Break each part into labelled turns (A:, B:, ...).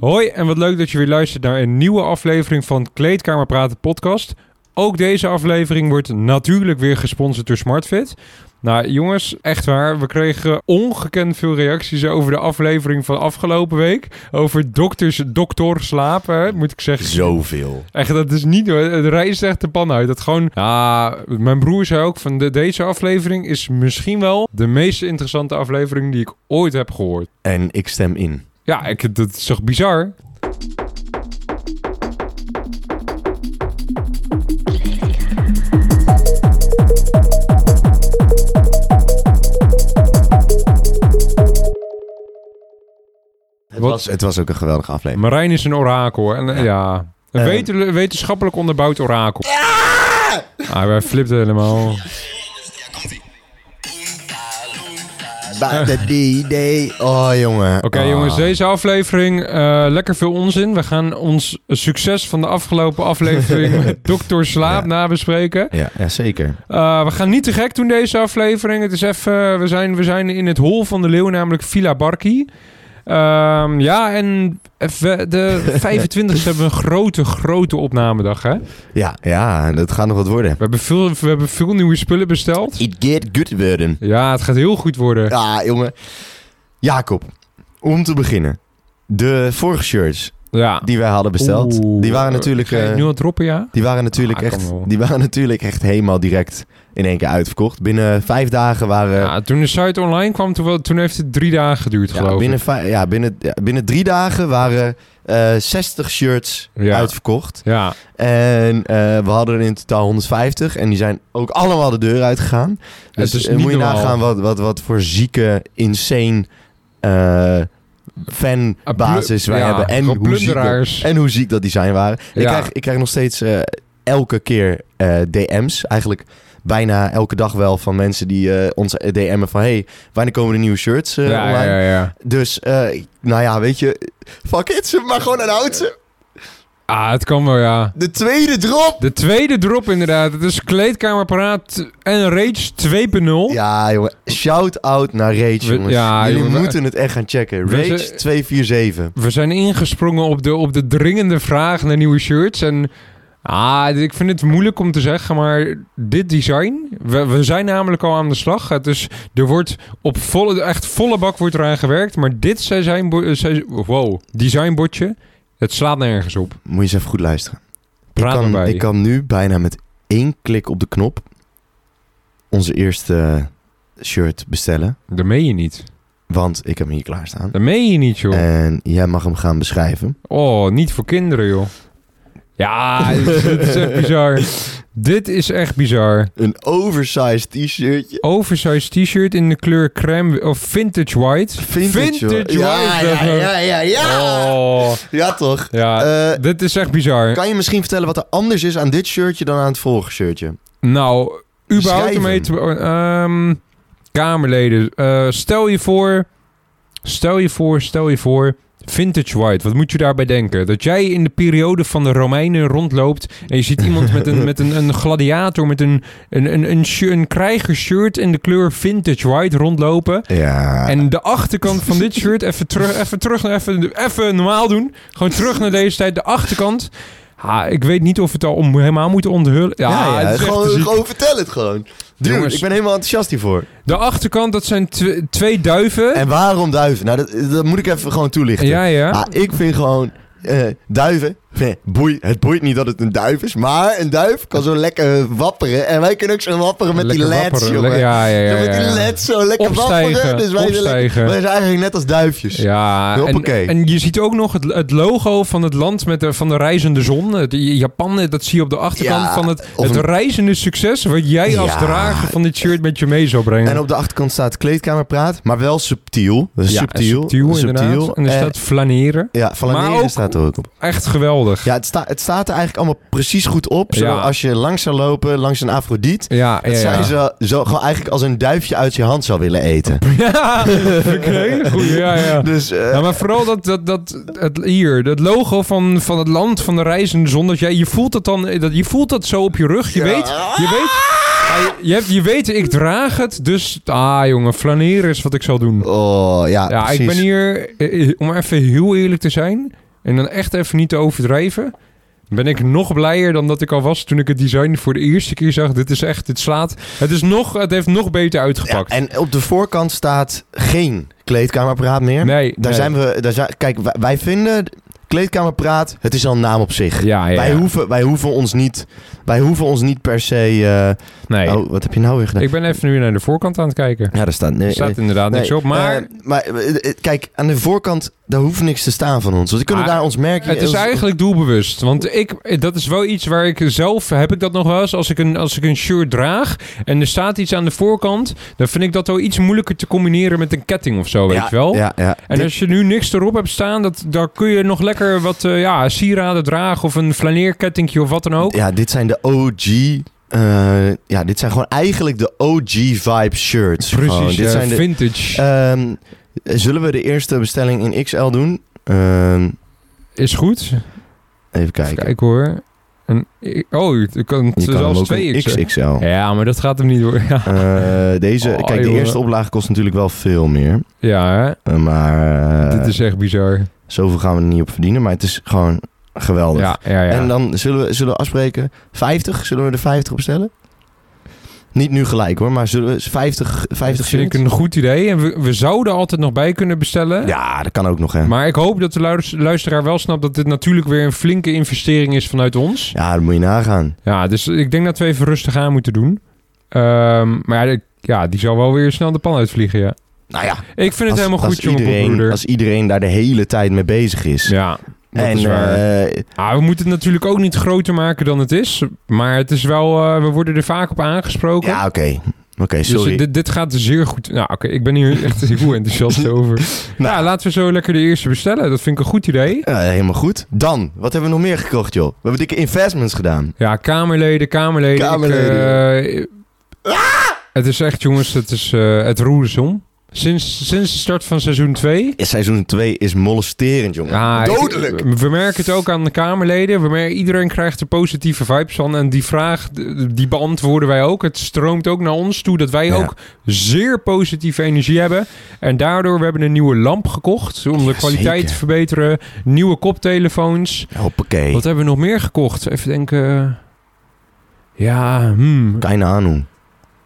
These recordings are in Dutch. A: Hoi en wat leuk dat je weer luistert naar een nieuwe aflevering van Kleedkamer Praten podcast. Ook deze aflevering wordt natuurlijk weer gesponsord door SmartFit. Nou jongens, echt waar, we kregen ongekend veel reacties over de aflevering van afgelopen week. Over dokters, dokter slapen, hè, moet ik zeggen.
B: Zoveel.
A: Echt, dat is niet hoor. Het reist echt de pan uit. Dat gewoon... Ja, mijn broer zei ook van de, deze aflevering is misschien wel de meest interessante aflevering die ik ooit heb gehoord.
B: En ik stem in.
A: Ja, ik, dat is toch bizar?
B: Het
A: Wat-
B: was, het was ook een geweldige aflevering.
A: Marijn is een orakel. En, eh, ja. Een
B: Eh.
A: weten- wetenschappelijk onderbouwd orakel. Ah, wij flipten helemaal.
B: Bij de D-Day. Oh, jongen.
A: Oké
B: Ah.
A: jongens, deze aflevering, eh, lekker veel onzin. We gaan ons succes van de afgelopen aflevering Dokter Slaap
B: Ja.
A: nabespreken.
B: Ja, ja, zeker.
A: Eh, we gaan niet te gek doen deze aflevering. Het is even, eh, we, zijn, we zijn in het hol van de leeuw, namelijk Villa Barki. Ehm, ja, en even de 25e hebben we een grote, grote opnamedag. Hè? We,
B: Ja, ja, dat gaat nog wat worden.
A: hebben veel, we hebben veel nieuwe spullen besteld.
B: It get good worden.
A: Ja, het gaat heel goed worden.
B: Ja, jongen. Jacob, om te beginnen. De vorige shirts
A: Ja.
B: die wij hadden besteld,
A: Oeh.
B: die waren natuurlijk...
A: Ga je het
B: eh,
A: nu al droppen, ja?
B: Die waren, natuurlijk
A: Ah, kan wel.
B: echt, die waren natuurlijk echt helemaal direct in één keer uitverkocht. Binnen vijf dagen waren...
A: ja. Toen de site online kwam, toen, wel- toen heeft het drie dagen geduurd,
B: Ja,
A: geloof ik.
B: binnen, vij- ja, binnen, ja, binnen drie dagen waren eh 60 shirts
A: Ja.
B: uitverkocht.
A: Ja,
B: En eh, we hadden er in totaal 150. En die zijn ook allemaal de deur uitgegaan. Dus
A: is
B: eh,
A: niet
B: moet je
A: normaal.
B: nagaan wat, wat, wat voor zieke, insane eh, fanbasis wij
A: Ja,
B: hebben. En
A: gewoon
B: hoe, ziek dat,
A: plunderaars.
B: en hoe ziek dat die zijn waren. Ik,
A: Ja.
B: krijg, ik krijg nog steeds eh, elke keer eh, DM's. Eigenlijk bijna elke dag wel van mensen die eh, ons DM'en van... hey, wanneer komen de nieuwe shirts eh,
A: ja,
B: online?
A: ja, ja, ja.
B: Dus, eh, nou ja, weet je... Fuck it, ze maar gewoon announce. ze.
A: Ah, het kan wel, ja.
B: De tweede drop!
A: De tweede drop inderdaad. Het is kleedkamerparaat en Rage 2.0.
B: Ja, jongen. Shout-out naar Rage,
A: Oh. We-
B: jongens.
A: ja,
B: Jullie
A: jongen, we-
B: moeten het echt gaan checken.
A: we
B: Rage
A: zijn-
B: 247.
A: We zijn ingesprongen op de, op de dringende vraag naar nieuwe shirts. En ah, ik vind het moeilijk om te zeggen, maar dit design... We, we zijn namelijk al aan de slag. Het is, er wordt op volle, echt volle bak wordt eraan gewerkt. Maar dit zijn, wow, designbotje, het slaat nergens op.
B: Moet je eens even goed luisteren.
A: Praat
B: ik, kan,
A: erbij.
B: ik kan nu bijna met één klik op de knop... onze eerste shirt bestellen.
A: Dat meen je niet.
B: Want ik heb hem hier klaarstaan.
A: Dat meen je niet, joh.
B: En jij mag hem gaan beschrijven.
A: Oh, niet voor kinderen, joh. Ja, dit is, dit is echt bizar. Dit is echt bizar.
B: Een oversized t-shirtje.
A: Oversized t-shirt in de kleur crème of vintage white.
B: hoor.
A: Vintage
B: ja,
A: white.
B: ja,
A: dat-
B: ja, ja, ja.
A: Oh,
B: Ja, toch?
A: ja.
B: Eh,
A: dit is echt bizar.
B: kan je misschien vertellen wat er anders is aan dit shirtje dan aan het vorige shirtje?
A: Nou, überhaupt
B: Beschrijf
A: ermee te... ehm, kamerleden, eh, stel je voor... Stel je voor, stel je voor... Vintage white, wat moet je daarbij denken? Dat jij in de periode van de Romeinen rondloopt... en je ziet iemand met een, met een, een gladiator... met een, een, een, een, shi- een krijgershirt in de kleur vintage white rondlopen...
B: Ja.
A: En de achterkant van dit shirt, even terug, even terug, naar- even, even normaal doen. Gewoon terug naar deze tijd. De achterkant. Ha, ik weet niet of we het al om, helemaal moeten onthullen. Ja,
B: Ja, ja,
A: het is echt
B: gewoon,
A: te ziek.
B: gewoon vertel het gewoon. Dude,
A: Jongens.
B: ik ben helemaal enthousiast hiervoor.
A: De achterkant, dat zijn tw- twee duiven.
B: En waarom duiven? Nou, dat, dat moet ik even gewoon toelichten.
A: ja, ja.
B: Ah, ik vind gewoon eh, duiven... eh, Boei, het boeit niet dat het een duif is, maar een duif kan zo lekker wapperen. En wij kunnen ook zo wapperen Ah, met
A: Lekker
B: die leds,
A: wapperen.
B: jongen.
A: Lekker- Ja, ja,
B: Zo
A: ja.
B: met
A: ja,
B: die
A: ja.
B: leds zo lekker
A: Opstijgen,
B: wapperen. Dus wij, zijn lekker-
A: opstijgen.
B: wij zijn eigenlijk net als duifjes.
A: Ja, en,
B: Hoppakee.
A: en je ziet ook nog het, het logo van het land met de, van de reizende zon. Het- Japan, dat zie je op de achterkant
B: Ja,
A: van het,
B: of
A: het
B: een-
A: reizende succes... wat jij als
B: Ja.
A: drager van dit shirt met je mee zou brengen.
B: En op de achterkant staat kleedkamerpraat, maar wel subtiel. Dus
A: ja,
B: subtiel,
A: subtiel, inderdaad. En er
B: Eh,
A: staat flaneren.
B: ja,
A: Maar ook-
B: Flaneren staat er ook op.
A: Echt geweldig.
B: Ja, het, sta- het staat er eigenlijk allemaal precies goed op. Zodat
A: Ja.
B: als je langs zou lopen, langs een Afrodiet.
A: Ja,
B: Dat
A: ja,
B: zij
A: ja.
B: zo, zo gewoon eigenlijk als een duifje uit je hand zou willen eten.
A: Ja, oké, goed. Ja, ja.
B: Dus eh,
A: Ja, maar vooral dat, dat, dat het, hier, dat logo van, van het land van de reizende zon. Dat jij, je voelt dat dan, dat, je voelt dat zo op je rug. Je
B: Ja.
A: weet, je weet, ah, je, je, hebt, je weet, ik draag het. Dus, ah jongen, flaneren is wat ik zal doen.
B: oh ja,
A: Ja,
B: precies.
A: ik ben hier, eh, eh, om even heel eerlijk te zijn, en dan echt even niet te overdrijven, ben ik nog blijer dan dat ik al was toen ik het design voor de eerste keer zag. Dit is echt, dit slaat. Het, is nog, het heeft nog beter
B: Ja,
A: uitgepakt.
B: en op de voorkant staat geen kleedkamerapparaat meer.
A: nee,
B: Daar
A: nee.
B: zijn we. Daar zijn, kijk, wij, wij vinden kleedkamerpraat. Het is al een naam op zich.
A: Ja, ja.
B: Wij,
A: ja.
B: hoeven, wij, hoeven ons niet, wij hoeven ons niet per se. eh,
A: Nee.
B: Oh, wat heb je nou weer gedaan?
A: Ik ben even nu naar de voorkant aan het kijken.
B: Ja, daar staat. Nee, eh,
A: Er staat inderdaad
B: nee,
A: niks op, maar
B: eh, maar eh, eh, kijk, aan de voorkant, daar hoeft niks te staan van ons. Want we kunnen
A: Maar
B: daar ons merk
A: het is
B: ons-
A: eigenlijk doelbewust. Want ik, dat is wel iets waar ik zelf, heb ik dat nog wel eens, als ik, een, als ik een shirt draag en er staat iets aan de voorkant, dan vind ik dat wel iets moeilijker te combineren met een ketting of zo, weet
B: ja,
A: je wel?
B: Ja, ja.
A: En
B: Dit-
A: als je nu niks erop hebt staan, dat, daar kun je nog lekker wat eh, ja, sieraden dragen of een flaneerkettingje of wat dan ook.
B: Ja, dit zijn de OG. eh, ja, dit zijn gewoon eigenlijk de OG vibe shirts.
A: Precies,
B: Gewoon, Dit
A: eh,
B: zijn de,
A: vintage
B: Ehm, zullen we de eerste bestelling in XL doen? Ehm,
A: is goed.
B: even
A: Kijk,
B: kijken.
A: hoor. Een, oh, je kan
B: Je kan hem
A: zelfs
B: ook
A: twee
B: in
A: x'en.
B: XXL.
A: Ja, maar dat gaat hem niet door. Ja,
B: Eh, deze,
A: Oh,
B: kijk, de
A: joh.
B: eerste oplage kost natuurlijk wel veel meer.
A: ja hè?
B: Eh, maar eh,
A: dit is echt bizar.
B: zoveel gaan we er niet op verdienen. Maar het is gewoon geweldig.
A: Ja, ja, ja.
B: En dan zullen we, zullen we afspreken, 50? Zullen we er 50 op stellen? Niet nu gelijk hoor, maar zullen we 50, 50
A: dat vind ik
B: shirts?
A: een goed idee. En we, we zouden altijd nog bij kunnen bestellen.
B: Ja, dat kan ook nog hè.
A: Maar ik hoop dat de luis- luisteraar wel snapt dat dit natuurlijk weer een flinke investering is vanuit ons.
B: Ja, dat moet je nagaan.
A: Ja, dus ik denk dat we even rustig aan moeten doen. Ehm, maar ja, ik- ja, die zal wel weer snel de pan uitvliegen, ja.
B: Nou ja,
A: Ik vind het
B: als,
A: helemaal
B: als
A: goed, jongen
B: iedereen,
A: broeder.
B: als iedereen daar de hele tijd mee bezig is.
A: Ja, dat
B: en
A: is waar.
B: eh,
A: Ah, we moeten het natuurlijk ook niet groter maken dan het is. Maar het is wel, eh, we worden er vaak op aangesproken.
B: ja, oké. Oké,
A: Dus
B: sorry.
A: dit, dit gaat zeer goed. Nou, oké, ik ben hier echt heel enthousiast over. Nou, laten we zo lekker de eerste bestellen. Dat vind ik een goed idee.
B: Ja, helemaal goed. Dan, wat hebben we nog meer gekocht, joh? We hebben dikke investments gedaan.
A: Ja, Kamerleden, Kamerleden.
B: Kamerleden.
A: Ik, eh, Het is echt, jongens, het, is, eh, het roer is om. Sinds, sinds de start van seizoen 2.
B: Seizoen 2 is molesterend, jongen.
A: Ja,
B: Dodelijk!
A: Ah, ik- we merken het ook aan de Kamerleden. We merken, iedereen krijgt er positieve vibes van. En die vraag, d- die beantwoorden wij ook. Het stroomt ook naar ons toe dat wij
B: Ja.
A: ook zeer positieve energie hebben. En daardoor, we hebben een nieuwe lamp gekocht. Om de
B: Ja,
A: kwaliteit
B: zeker.
A: te verbeteren. Nieuwe koptelefoons.
B: Hoppakee.
A: Wat hebben we nog meer gekocht? Even denken. Ja, hmm.
B: Keine Ahnung.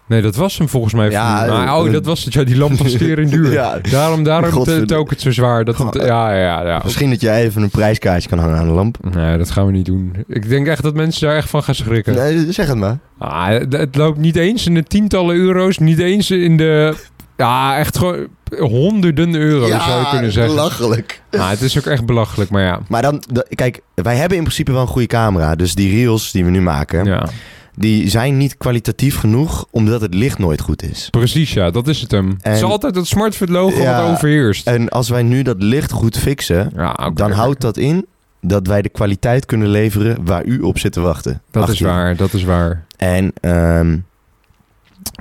A: Nee, dat was hem volgens mij.
B: Ja,
A: Maar,
B: eh,
A: oh, dat was het. Ja, die lamp was weer in duur.
B: Ja.
A: Daarom, daarom
B: Godverdomme.
A: te- ook het zo zwaar. Dat het- ja, ja, ja.
B: Misschien dat jij even een prijskaartje kan hangen aan de lamp.
A: Nee, dat gaan we niet doen. Ik denk echt dat mensen daar echt van gaan schrikken.
B: Nee, zeg het maar.
A: Ah, het- het loopt niet eens in de tientallen euro's. Niet eens in de... Ja, echt gewoon honderden euro's zou je kunnen zeggen.
B: belachelijk.
A: Ah, het is ook echt belachelijk, maar ja.
B: Maar dan, d- kijk, wij hebben in principe wel een goede camera. Dus die reels die we nu maken,
A: ja.
B: die zijn niet kwalitatief genoeg, omdat het licht nooit goed is.
A: Precies, ja. Dat is het hem. Het is
B: En-
A: altijd dat smartfit logo
B: Ja.
A: wat overheerst.
B: En als wij nu dat licht goed fixen,
A: Ja, Nou, oké.
B: dan houdt dat in dat wij de kwaliteit kunnen leveren waar u op zit te wachten.
A: Dat
B: Acht
A: is
B: jaar.
A: waar, dat is waar.
B: En ehm,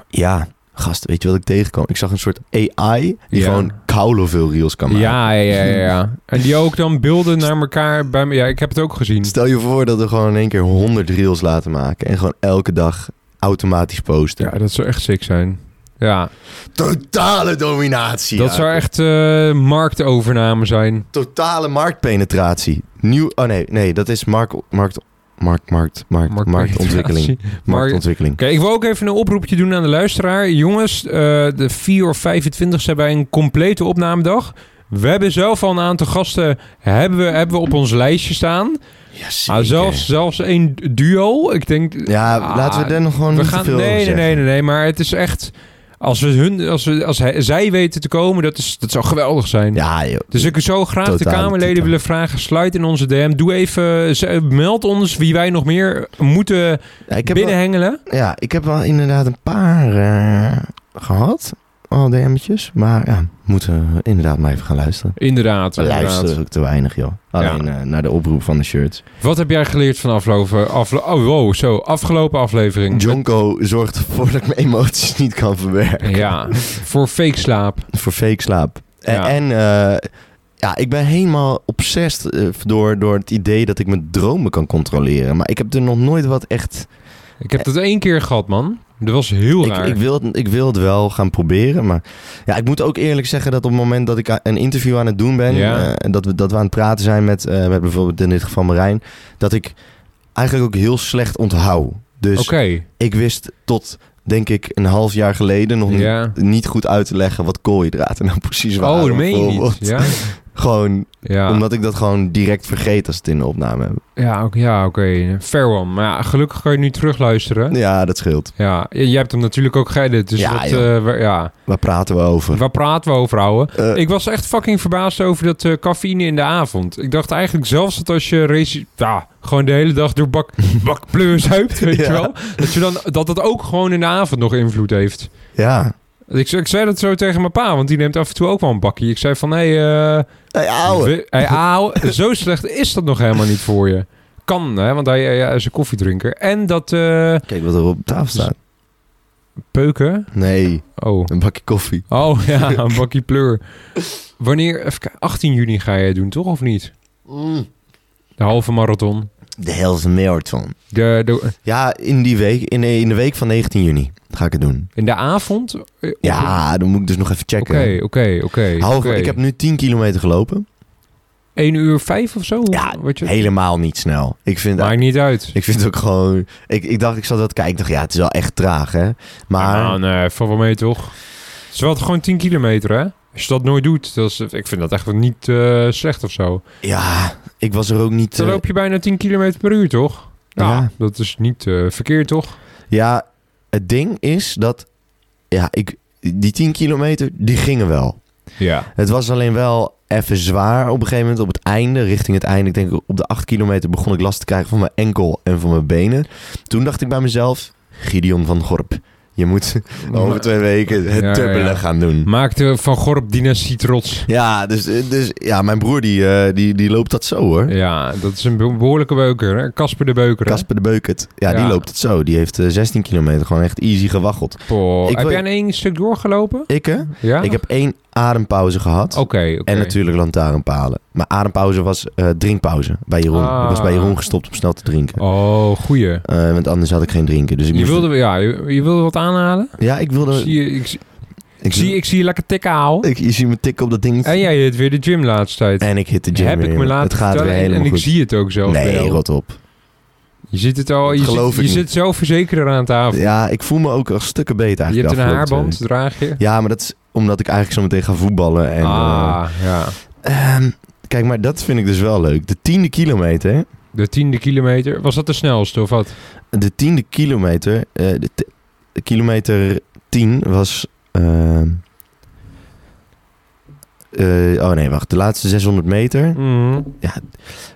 B: ja, gast, weet je wat ik tegenkwam? Ik zag een soort AI die
A: Ja.
B: gewoon koude veel reels kan maken.
A: Ja, ja, ja, ja. En die ook dan beelden naar elkaar bij me. Ja, ik heb het ook gezien.
B: Stel je voor dat we gewoon in één keer 100 reels laten maken en gewoon elke dag automatisch posten.
A: Ja, dat zou echt sick zijn. Ja,
B: Totale dominatie.
A: dat
B: ja.
A: zou echt eh, marktovername zijn.
B: Totale marktpenetratie. Nieuw. Oh nee, nee, dat is markt, markt, markt, markt, markt, marktontwikkeling.
A: Markt-
B: Marktontwikkeling.
A: Oké, ik wil ook even een oproepje doen aan de luisteraar. Jongens, eh, de 4 of 25 hebben wij een complete opnamedag. We hebben zelf al een aantal gasten hebben we, hebben we op ons lijstje staan.
B: Ja,
A: Ah,
B: zeker.
A: zelfs, zelfs één duo. Ik denk,
B: Ja,
A: Ah,
B: laten we daar nog gewoon
A: We
B: niet
A: gaan,
B: te veel over
A: nee, nee,
B: zeggen.
A: nee, nee, nee, maar het is echt... Als, we hun, als, we, als hij- zij weten te komen, dat, is, dat zou geweldig zijn.
B: Ja, joh.
A: Dus ik zou graag de
B: Totaal,
A: Kamerleden
B: totaal.
A: willen vragen, sluit in onze DM. Doe even, z- meld ons wie wij nog meer moeten
B: Ja, ik heb wel-
A: binnenhengelen.
B: Ja, ik heb wel inderdaad een paar eh, gehad. Al DM'tjes. Maar ja, moeten we inderdaad maar even gaan luisteren.
A: Inderdaad,
B: We
A: inderdaad.
B: luisteren ook te weinig, joh. Alleen eh, naar de oproep van de shirts.
A: Wat heb jij geleerd van afgelopen, afle oh, wow, zo, afgelopen aflevering?
B: Jonko zorgt ervoor dat ik mijn emoties niet kan verwerken.
A: Ja, voor fake slaap.
B: Voor fake slaap. En,
A: Ja.
B: en eh, ja, ik ben helemaal obsessed eh, door, door het idee dat ik mijn dromen kan controleren. Maar ik heb er nog nooit wat echt...
A: Ik heb dat één keer gehad, man. Dat was heel
B: Ik,
A: raar.
B: ik, wil het, ik wil het wel gaan proberen, maar ja, ik moet ook eerlijk zeggen dat op het moment dat ik a- een interview aan het doen ben,
A: Ja.
B: eh, en dat, we, dat we aan het praten zijn met, eh, met bijvoorbeeld in dit geval Marijn, dat ik eigenlijk ook heel slecht onthoud. Dus
A: Oké.
B: ik wist tot, denk ik, een half jaar geleden nog niet,
A: Ja.
B: niet goed uit te leggen wat koolhydraten nou precies waren.
A: Oh, dat meen je niet.
B: bijvoorbeeld.
A: Ja, Ah.
B: Gewoon
A: ja.
B: omdat ik dat gewoon direct vergeet als het in de opname heb.
A: ja oké. Ja, oké. Fair one. Maar ja, gelukkig kan je nu terugluisteren.
B: Ja, dat scheelt.
A: Ja, je je hebt hem natuurlijk ook geëdit. Dus
B: Ja,
A: wat,
B: joh.
A: eh, waar- ja.
B: Waar praten we over?
A: waar praten we over, ouwe?
B: Eh,
A: Ik was echt fucking verbaasd over dat eh, cafeïne in de avond. Ik dacht eigenlijk zelfs dat als je race, ja, gewoon de hele dag door bak, bak pleurs huipt, weet
B: Ja.
A: je wel. Dat, je dan, dat dat ook gewoon in de avond nog invloed heeft.
B: ja.
A: Ik, ze- ik zei dat zo tegen mijn pa, want die neemt af en toe ook wel een bakje. Ik zei van, hé, hey, eh,
B: Hey, ouwe.
A: we- hey, ouwe, zo slecht is dat nog helemaal niet voor je. Kan, hè, want hij, hij is een koffiedrinker. En dat eh,
B: Kijk wat er op tafel staat.
A: peuken...
B: Nee,
A: Oh.
B: een bakje koffie.
A: Oh ja, een bakkie pleur. Wanneer, even kijken, 18 juni ga jij doen, toch of niet?
B: Mm.
A: De halve marathon.
B: De Helse Marathon.
A: De, de,
B: Ja, in die week, in, in de week van 19 juni ga ik het doen.
A: in de avond? Eh, op-
B: Ja, dan moet ik dus nog even checken.
A: Oké, oké, oké.
B: Half-
A: oké.
B: Ik heb nu 10 kilometer gelopen.
A: 1 uur 5 of zo?
B: Ja,
A: Wat je,
B: Helemaal niet snel. Ik vind,
A: Maakt niet uit.
B: ik vind het ook gewoon... Ik, ik dacht, ik zat dat kijken. Ik dacht, ja, het is wel echt traag, hè. Maar
A: Nou, nee, val wel mee toch. Het is wel gewoon 10 kilometer, hè? Als je dat nooit doet, dat is, ik vind dat echt niet eh, slecht of zo.
B: ja, ik was er ook niet...
A: Dan
B: eh,
A: loop je bijna 10 kilometer per uur, toch? Nou,
B: Ja.
A: dat is niet eh, verkeerd, toch?
B: Ja, het ding is dat... Ja, ik, die 10 kilometer, die gingen wel.
A: Ja.
B: Het was alleen wel even zwaar op een gegeven moment. Op het einde, richting het einde. Ik denk op de 8 kilometer begon ik last te krijgen van mijn enkel en van mijn benen. Toen dacht ik bij mezelf, Gideon van Gorp. Je moet over twee weken het
A: Ja, ja,
B: tubbelen
A: ja.
B: gaan doen.
A: Maakte Van Gorp dynastie trots.
B: Ja, dus, dus ja, mijn broer die, eh, die, die loopt dat zo hoor.
A: Ja, dat is een be- behoorlijke beuker. hè? Casper de Beuker. hè?
B: Casper de Beukert, ja, die
A: Ja.
B: loopt het zo. Die heeft eh, 16 kilometer gewoon echt easy gewaggeld.
A: Poh.
B: Ik
A: Heb
B: wil-
A: jij aan één stuk doorgelopen?
B: Ik hè?
A: Ja?
B: Ik heb één adempauze gehad.
A: Oké, oké.
B: En natuurlijk lantaarnpalen. Maar adempauze was eh, drinkpauze bij Jeroen.
A: Ah.
B: Ik was bij Jeroen gestopt om snel te drinken.
A: Oh, goeie.
B: Eh, want anders had ik geen drinken. Dus ik
A: Je
B: moest-
A: wilde, ja, je, je wilde wat aanhalen?
B: Ja, ik
A: Ik
B: wilde...
A: zie, je- ik, zie-
B: ik
A: ik zie, ik zie je lekker tikken houden.
B: ik, je ziet me tikken op dat ding.
A: En jij hit weer de gym laatste tijd.
B: En ik hit de gym
A: Heb
B: weer,
A: ik me
B: jongen.
A: laten
B: Het gaat weer
A: vertellen en,
B: helemaal
A: en ik
B: goed.
A: zie het ook zelf bij
B: nee,
A: jou.
B: rot op.
A: Je ziet het al, je,
B: Dat geloof
A: zit,
B: ik
A: je zit zelfverzekerd aan tafel.
B: Ja, ik voel me ook al stukken beter
A: je
B: eigenlijk.
A: hebt een
B: de afgelopen twee
A: haarband, draag je.
B: weken. Ja, maar dat is omdat ik eigenlijk zo meteen ga voetballen. eh, En,
A: ah, ja.
B: eh, ehm, kijk, maar dat vind ik dus wel leuk. De tiende kilometer.
A: De tiende kilometer. Was dat de snelste of wat?
B: De tiende kilometer. eh, de, t- de kilometer 10 was. ehm, eh, oh nee, wacht. De laatste 600 meter.
A: Mhm.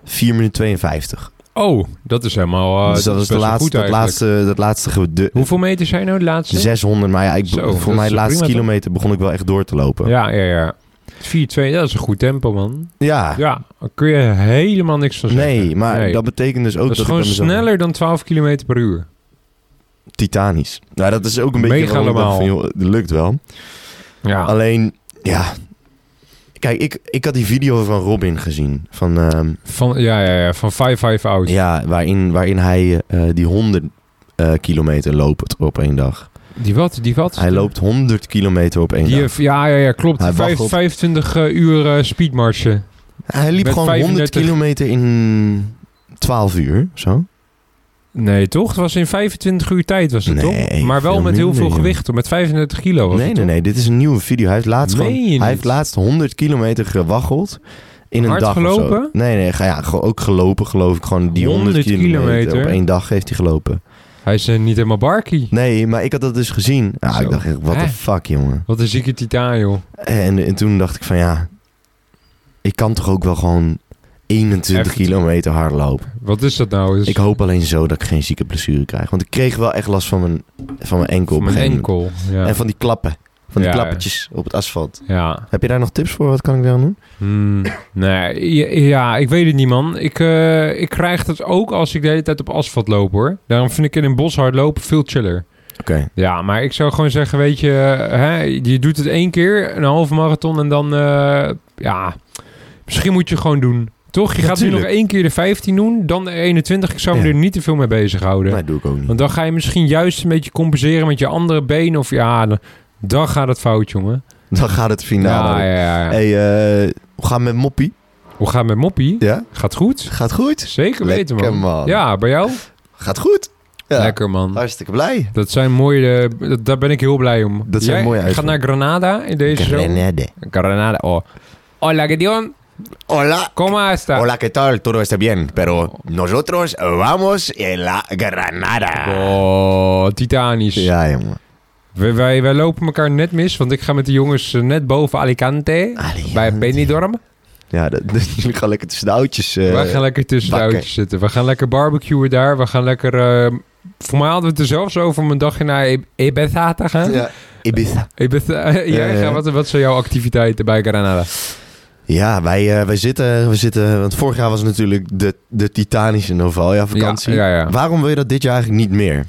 B: 4 minuten 52.
A: Oh, dat is helemaal eh,
B: dus dat
A: is
B: was de
A: best wel
B: laatste,
A: goed
B: dat
A: eigenlijk.
B: laatste, dat laatste gedu-
A: Hoeveel meter zijn nou de laatste?
B: 600. Maar ja, ik,
A: Zo, dat
B: voor
A: is
B: mij de
A: prima,
B: laatste
A: toch?
B: kilometer begon ik wel echt door te lopen.
A: Ja, ja, ja. 4-2, dat is een goed tempo, man.
B: Ja.
A: Ja, daar kun je helemaal niks van zeggen.
B: Ah. Nee, maar
A: Nee.
B: dat betekent dus
A: dat
B: ook dat
A: is
B: ik
A: gewoon
B: bij mezelf-
A: sneller dan 12 km per uur.
B: Titanisch. Nou, dat is ook een beetje waarom ik dacht van,
A: Megalomaan.
B: joh, dat lukt wel.
A: Ja.
B: Alleen, ja. Kijk, ik, ik had die video van Robin gezien. Van, ehm,
A: Van, ja, ja, ja, van 5-5 out.
B: ja, waarin, waarin hij eh, die 100 eh, kilometer loopt op één dag.
A: Die wat, die wat?
B: Hij loopt 100 kilometer op één
A: Die,
B: dag.
A: heeft- ja, ja, ja, klopt.
B: Hij
A: Vijf-
B: waggelt.
A: 25 eh, uur eh, speedmarschen.
B: Hij liep
A: Met
B: gewoon
A: 35.
B: 100 kilometer in 12 uur, zo.
A: Oh, Nee, toch? Het was in 25 uur tijd, was het
B: Nee,
A: toch? Maar wel
B: veel
A: met heel
B: minder,
A: veel
B: joh.
A: gewicht, hoor. met 35 kilo. Was
B: Nee,
A: het
B: nee,
A: toch?
B: nee. Dit is een nieuwe video. Hij heeft laatst,
A: Meen je
B: gewoon,
A: niet?
B: hij heeft laatst 100 kilometer gewaggeld. In een
A: Hard
B: dag of zo.
A: gelopen?
B: Nee, nee. Ga, ja, gewoon ook gelopen geloof ik. Gewoon die 100,
A: 100
B: kilometer,
A: kilometer.
B: op één dag heeft hij gelopen.
A: Hij is eh, niet helemaal barkie.
B: Nee, maar ik had dat dus gezien. Ja,
A: Zo.
B: ik dacht echt, wat
A: Hè?
B: de fuck, jongen.
A: Wat een zieke titaan, joh.
B: En, en toen dacht ik van ja, ik kan toch ook wel gewoon 21
A: Echt?
B: kilometer hard lopen.
A: Wat is dat nou? Dus
B: Ik hoop alleen zo dat ik geen zieke blessure krijg. Want ik kreeg wel echt last van mijn, van mijn enkel. op
A: Mijn
B: een gegeven moment.
A: enkel. Ja.
B: En van die klappen. Van die
A: Ja.
B: klappertjes op het asfalt.
A: ja.
B: Heb je daar nog tips voor? Wat kan ik daar aan doen?
A: Hmm, nee, ja, ja, ik weet het niet, man. Ik, eh, ik krijg dat ook als ik de hele tijd op asfalt loop, hoor. Daarom vind ik in een bos hardlopen veel chiller.
B: Oké.
A: Ja, maar ik zou gewoon zeggen, weet je... eh, Hè, je doet het één keer, een halve marathon en dan... eh, ja, misschien moet je gewoon doen. Toch? Je gaat nu nog
B: Natuurlijk.
A: één keer de 15 doen, dan de 21. Ik zou me
B: Ja.
A: er niet te veel mee bezighouden.
B: Nee, doe ik ook niet.
A: Want dan ga je misschien juist een beetje compenseren met je andere been. Of ja, dan, dan gaat het fout, jongen.
B: Dan gaat het finale.
A: ja, ja, ja.
B: Hey, eh, we gaan met Moppie.
A: Hoe gaat het met Moppie?
B: Ja?
A: Gaat goed?
B: Gaat goed.
A: Zeker weten,
B: Lekker,
A: man.
B: man.
A: Ja, bij jou?
B: Gaat goed. Ja.
A: Lekker, man.
B: Hartstikke blij.
A: Dat zijn mooie... eh, dat- Daar ben ik heel blij om.
B: Dat zijn
A: Jij
B: mooie
A: gaat
B: uitvallen.
A: naar Granada in deze show.
B: Grenade.
A: Granada, oh. Hola, Gideon.
B: Hola.
A: Como esta?
B: Hola, ¿qué tal? Todo está bien, pero nosotros vamos en la Granada.
A: Oh, titanisch.
B: Ja, jongen.
A: Wij, wij, wij lopen elkaar net mis, want ik ga met de jongens eh, net boven Alicante.
B: Alicante.
A: Bij Benidorm.
B: Ja, dat, jullie gaan lekker tussen de houtjes. eh,
A: wij gaan lekker tussen de
B: bakken.
A: auto's zitten. We gaan lekker barbecuen daar. We gaan lekker... eh, voor mij hadden we het er zelfs over om een dagje naar I- Ibiza te gaan.
B: Ja, Ibiza.
A: Ibiza,
B: Ja,
A: jij,
B: ja.
A: Wat, wat zijn jouw activiteiten bij Granada?
B: Ja, wij, eh, wij, zitten, we zitten... Want vorig jaar was natuurlijk de, de titanische Novalia-vakantie.
A: Ja, ja, ja.
B: Waarom wil je dat dit jaar eigenlijk niet meer?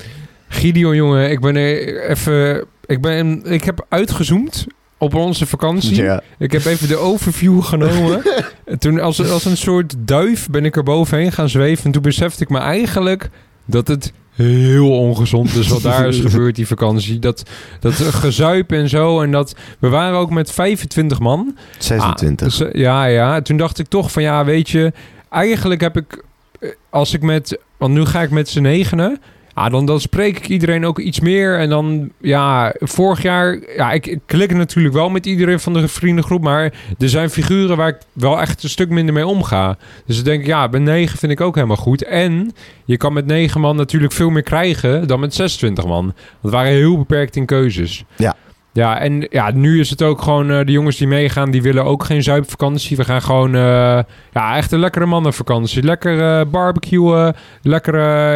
A: Gideon, jongen, ik ben er even... Ik, ben, ik heb uitgezoomd op onze vakantie.
B: Ja.
A: Ik heb even de overview genomen. En toen als, als een soort duif ben ik er bovenheen gaan zweven. En toen besefte ik me eigenlijk dat het heel ongezond is wat daar is gebeurd, die vakantie. Dat, dat gezuip en zo. En dat, we waren ook met 25 man.
B: 26.
A: Dus, eh, ja, ja. Toen dacht ik toch van ja, weet je, eigenlijk heb ik, eh, als ik met, want nu ga ik met z'n negenen. Ja, dan, dan spreek ik iedereen ook iets meer. En dan, ja, vorig jaar... Ja, ik, ik klik natuurlijk wel met iedereen van de vriendengroep. Maar er zijn figuren waar ik wel echt een stuk minder mee omga. Dus dan denk ik, ja, met negen vind ik ook helemaal goed. En je kan met negen man natuurlijk veel meer krijgen dan met 26 man. Want we waren heel beperkt in keuzes.
B: Ja.
A: Ja, en ja, nu is het ook gewoon... eh, de jongens die meegaan, die willen ook geen zuipvakantie. We gaan gewoon... eh, ja, echt een lekkere mannenvakantie. Lekker eh, barbecuen. Lekker...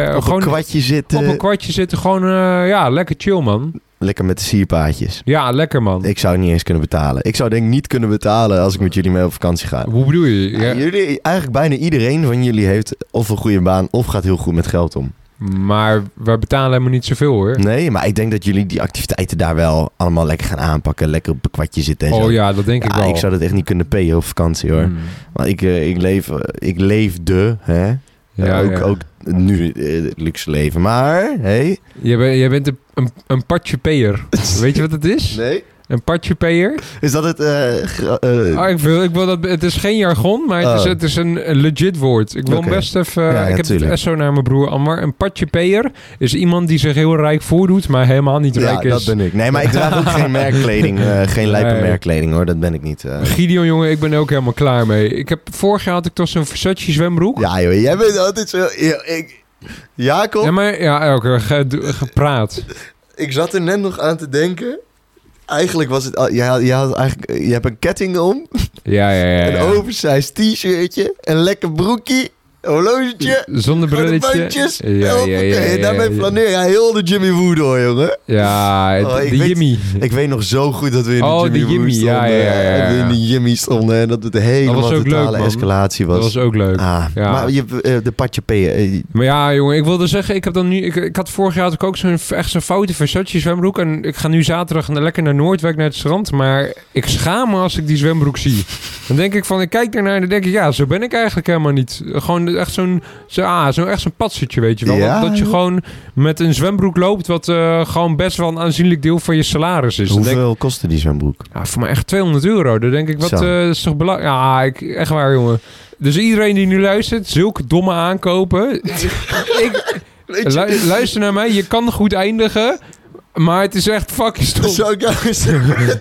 A: eh,
B: op
A: gewoon
B: een kwartje zitten.
A: op een kwartje zitten. Gewoon, eh, ja, lekker chill, man.
B: Lekker met de sierpaadjes.
A: Ja, lekker, man.
B: Ik zou het niet eens kunnen betalen. Ik zou denk ik niet kunnen betalen als ik met jullie mee op vakantie ga.
A: Hoe bedoel je? Ja,
B: Jullie, eigenlijk bijna iedereen van jullie heeft of een goede baan of gaat heel goed met geld om.
A: Maar we betalen helemaal niet zoveel, hoor.
B: Nee, maar ik denk dat jullie die activiteiten daar wel allemaal lekker gaan aanpakken. Lekker op een kwartje zitten en zo.
A: Oh ja, dat denk ik
B: Ja,
A: wel.
B: ik zou dat echt niet kunnen payen op vakantie hoor.
A: Mm.
B: Want ik, eh, ik, leef, eh, ik leef de, hè.
A: Ja,
B: Eh, ook,
A: ja.
B: ook nu eh, het luxe leven. Maar, hé.
A: Jij, ben- jij bent een, een, een patjepeer. Weet je wat het is?
B: Nee.
A: Een patjepeer?
B: Is dat het... eh, gra- eh,
A: Ah, ik wil, ik wil dat, het is geen jargon, maar het, is,
B: Oh.
A: het is een een legit woord. Ik wil hem
B: Oké.
A: best even...
B: Ja, ja,
A: ik heb
B: tuurlijk.
A: het SO naar mijn broer Ammar. Een patjepeer is iemand die zich heel rijk voordoet, maar helemaal niet
B: ja,
A: rijk
B: dat
A: is.
B: ben ik. Nee, maar ik draag ook geen merkkleding. eh, geen lijpe
A: Nee.
B: merkkleding hoor, dat ben ik niet. eh.
A: Gideon, jongen, ik ben er ook helemaal klaar mee. Ik heb, vorig jaar had ik toch zo'n Versace zwembroek.
B: Ja joh, jij bent altijd zo... Ja, ik, Jacob,
A: Ja, maar ja, oké, ge- gepraat.
B: ik zat er net nog aan te denken. Eigenlijk was het... al- Jij, had- jij had eigenlijk, eh, je hebt een ketting om,
A: Ja, ja, ja. ja.
B: een oversized t-shirtje, een lekker broekje, een horlogetje...
A: Zonder
B: Grote
A: brilletje.
B: buntjes. Hoppakee, daarmee
A: ja.
B: flaneer jij heel de Jimmy Woo door, jongen.
A: Ja,
B: Oh,
A: de-
B: ik
A: de
B: weet-
A: Jimmy.
B: Ik weet nog zo goed dat we in de
A: Oh,
B: Jimmy
A: de
B: Woo
A: Jimmy,
B: stonden.
A: ja, ja, ja, ja.
B: En we in de Jimmy stonden en dat het helemaal
A: ook leuk,
B: totale
A: man.
B: escalatie was.
A: Dat was ook leuk.
B: Ah,
A: Ja. Dus
B: maar je, eh, de patje P. eh,
A: Maar ja, jongen, ik wilde zeggen, ik heb dan nu. Ik, ik had vorig jaar had ik ook zo'n echt zo'n foute Versace zwembroek. En ik ga nu zaterdag naar- lekker naar Noordwijk naar het strand. Maar ik schaam me als ik die zwembroek zie. Dan denk ik van, ik kijk daarnaar en dan denk ik, ja, zo ben ik eigenlijk helemaal niet. Gewoon echt zo'n. Zo, ah, zo echt zo'n patsetje, weet je wel.
B: Ja.
A: Dat- Dat je gewoon met een zwembroek loopt, wat eh, gewoon best wel een aanzienlijk deel van je salaris is. Dan denk ik,
B: hoeveel kostte die zwembroek?
A: Ja, voor mij echt 200 euro. Dan denk ik, wat
B: Zo.
A: eh, is toch belangrijk? Ja, ik, echt waar, jongen. Dus iedereen die nu luistert, zulke domme aankopen. ik, lu- luister naar mij, je kan goed eindigen. Maar het is echt fucking stom.
B: Zou ik, jou eens,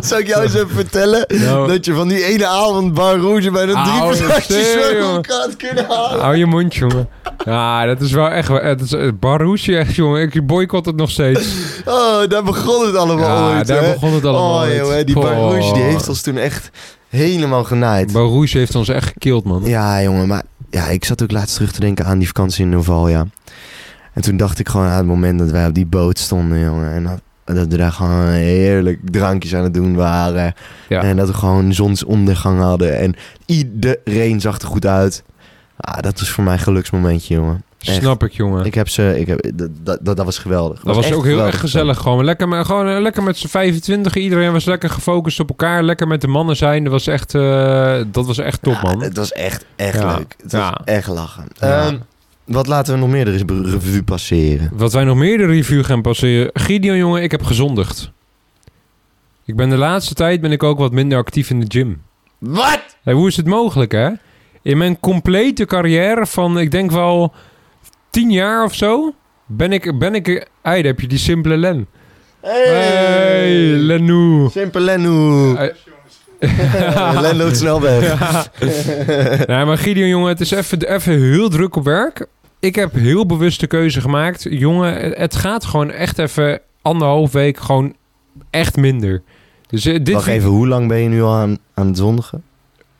B: zou ik jou eens even vertellen
A: Nou.
B: dat je van die ene avond Bar Rouge bij dat
A: Ah,
B: drie
A: oh,
B: flesjes
A: serieus,
B: zwembroek
A: jongen.
B: had kunnen halen?
A: Hou je mond, jongen. Ja, dat is wel echt... wel- Het is het Baroesje echt, jongen. Ik boycott het nog steeds.
B: Oh, daar begon het allemaal
A: Ja,
B: ooit,
A: daar
B: hè?
A: begon het allemaal
B: Oh,
A: ooit.
B: jongen, die
A: Poh.
B: Bar Rouge die heeft ons toen echt helemaal genaaid.
A: Baroesje heeft ons echt gekild, man.
B: Ja, jongen, maar ja, ik zat ook laatst terug te denken aan die vakantie in Novalia. En toen dacht ik gewoon aan het moment dat wij op die boot stonden, jongen. En dat, dat we daar gewoon heerlijk drankjes aan het doen waren.
A: Ja.
B: En dat we gewoon zonsondergang hadden. En iedereen zag er goed uit. Ah, dat was voor mij een geluksmomentje, jongen. Echt.
A: Snap ik, jongen.
B: Ik heb ze, ik heb, dat, dat, dat was geweldig.
A: dat was
B: echt
A: ook heel
B: geweldig.
A: erg gezellig. Gewoon lekker, met- gewoon eh, lekker met z'n 25. Iedereen was lekker gefocust op elkaar. Lekker met de mannen zijn. Dat was echt, eh, dat was echt top,
B: Ja,
A: man.
B: het was echt, echt
A: Ja.
B: leuk. Het
A: Ja.
B: was echt lachen.
A: Ja.
B: Ehm, wat laten we nog meer er eens be- revue passeren?
A: Wat wij nog meer de review gaan passeren. Gideon, jongen, ik heb gezondigd. Ik ben de laatste tijd ben ik ook wat minder actief in de gym.
B: Wat?
A: Hé, hoe is het mogelijk, hè? In mijn complete carrière van, ik denk wel tien jaar of zo, ben ik... Ben ik hey, daar heb je die simpele Len.
B: Hey!
A: Hey, Lenou.
B: Simpel Lenu.
A: Eh.
B: Len loopt snel weg.
A: Ja. nee, maar Gideon, jongen, het is even, even heel druk op werk. Ik heb heel bewust de keuze gemaakt. Jongen, het gaat gewoon echt even anderhalf week gewoon echt minder. Dus eh, dit...
B: Wacht
A: vind-
B: even, hoe lang ben je nu al aan, aan het zondigen?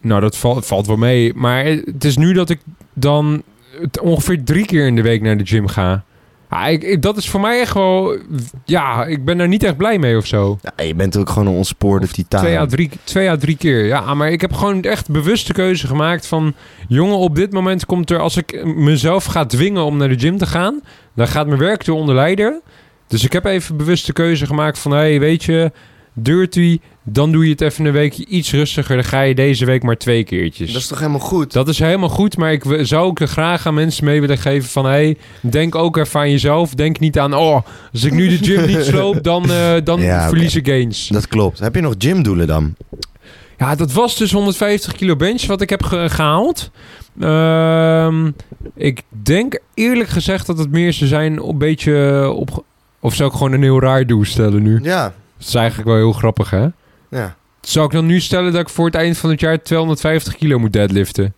A: Nou, dat val- valt wel mee. Maar het is nu dat ik dan het ongeveer drie keer in de week naar de gym ga. Ja, ik, ik- dat is voor mij echt wel... Ja, ik ben daar niet echt blij mee of zo.
B: Ja, je bent ook gewoon een ontspoorde titaan.
A: Twee à, drie, twee à drie keer, ja. Maar ik heb gewoon echt bewust de keuze gemaakt van... Jongen, op dit moment komt er... Als ik mezelf ga dwingen om naar de gym te gaan... Dan gaat mijn werk eronder lijden. Dus ik heb even bewust de keuze gemaakt van... Hé, hey, weet je, dirty... Dan doe je het even een weekje iets rustiger. Dan ga je deze week maar twee keertjes.
B: Dat is toch helemaal goed?
A: Dat is helemaal goed, maar ik w- zou ook graag aan mensen mee willen geven van... hey, denk ook even aan jezelf. Denk niet aan, oh, als ik nu de gym niet sloop, dan, eh, dan
B: Ja, oké.
A: verlies ik gains.
B: Dat klopt. Heb je nog gymdoelen dan?
A: Ja, dat was dus 150 kilo bench wat ik heb ge- gehaald. Ehm, ik denk eerlijk gezegd dat het meer ze zijn een beetje op... Of zou ik gewoon een heel raar doel stellen nu?
B: Ja.
A: Dat is eigenlijk wel heel grappig, hè?
B: Ja,
A: Zou ik dan nu stellen dat ik voor het eind van het jaar 250 kilo moet deadliften?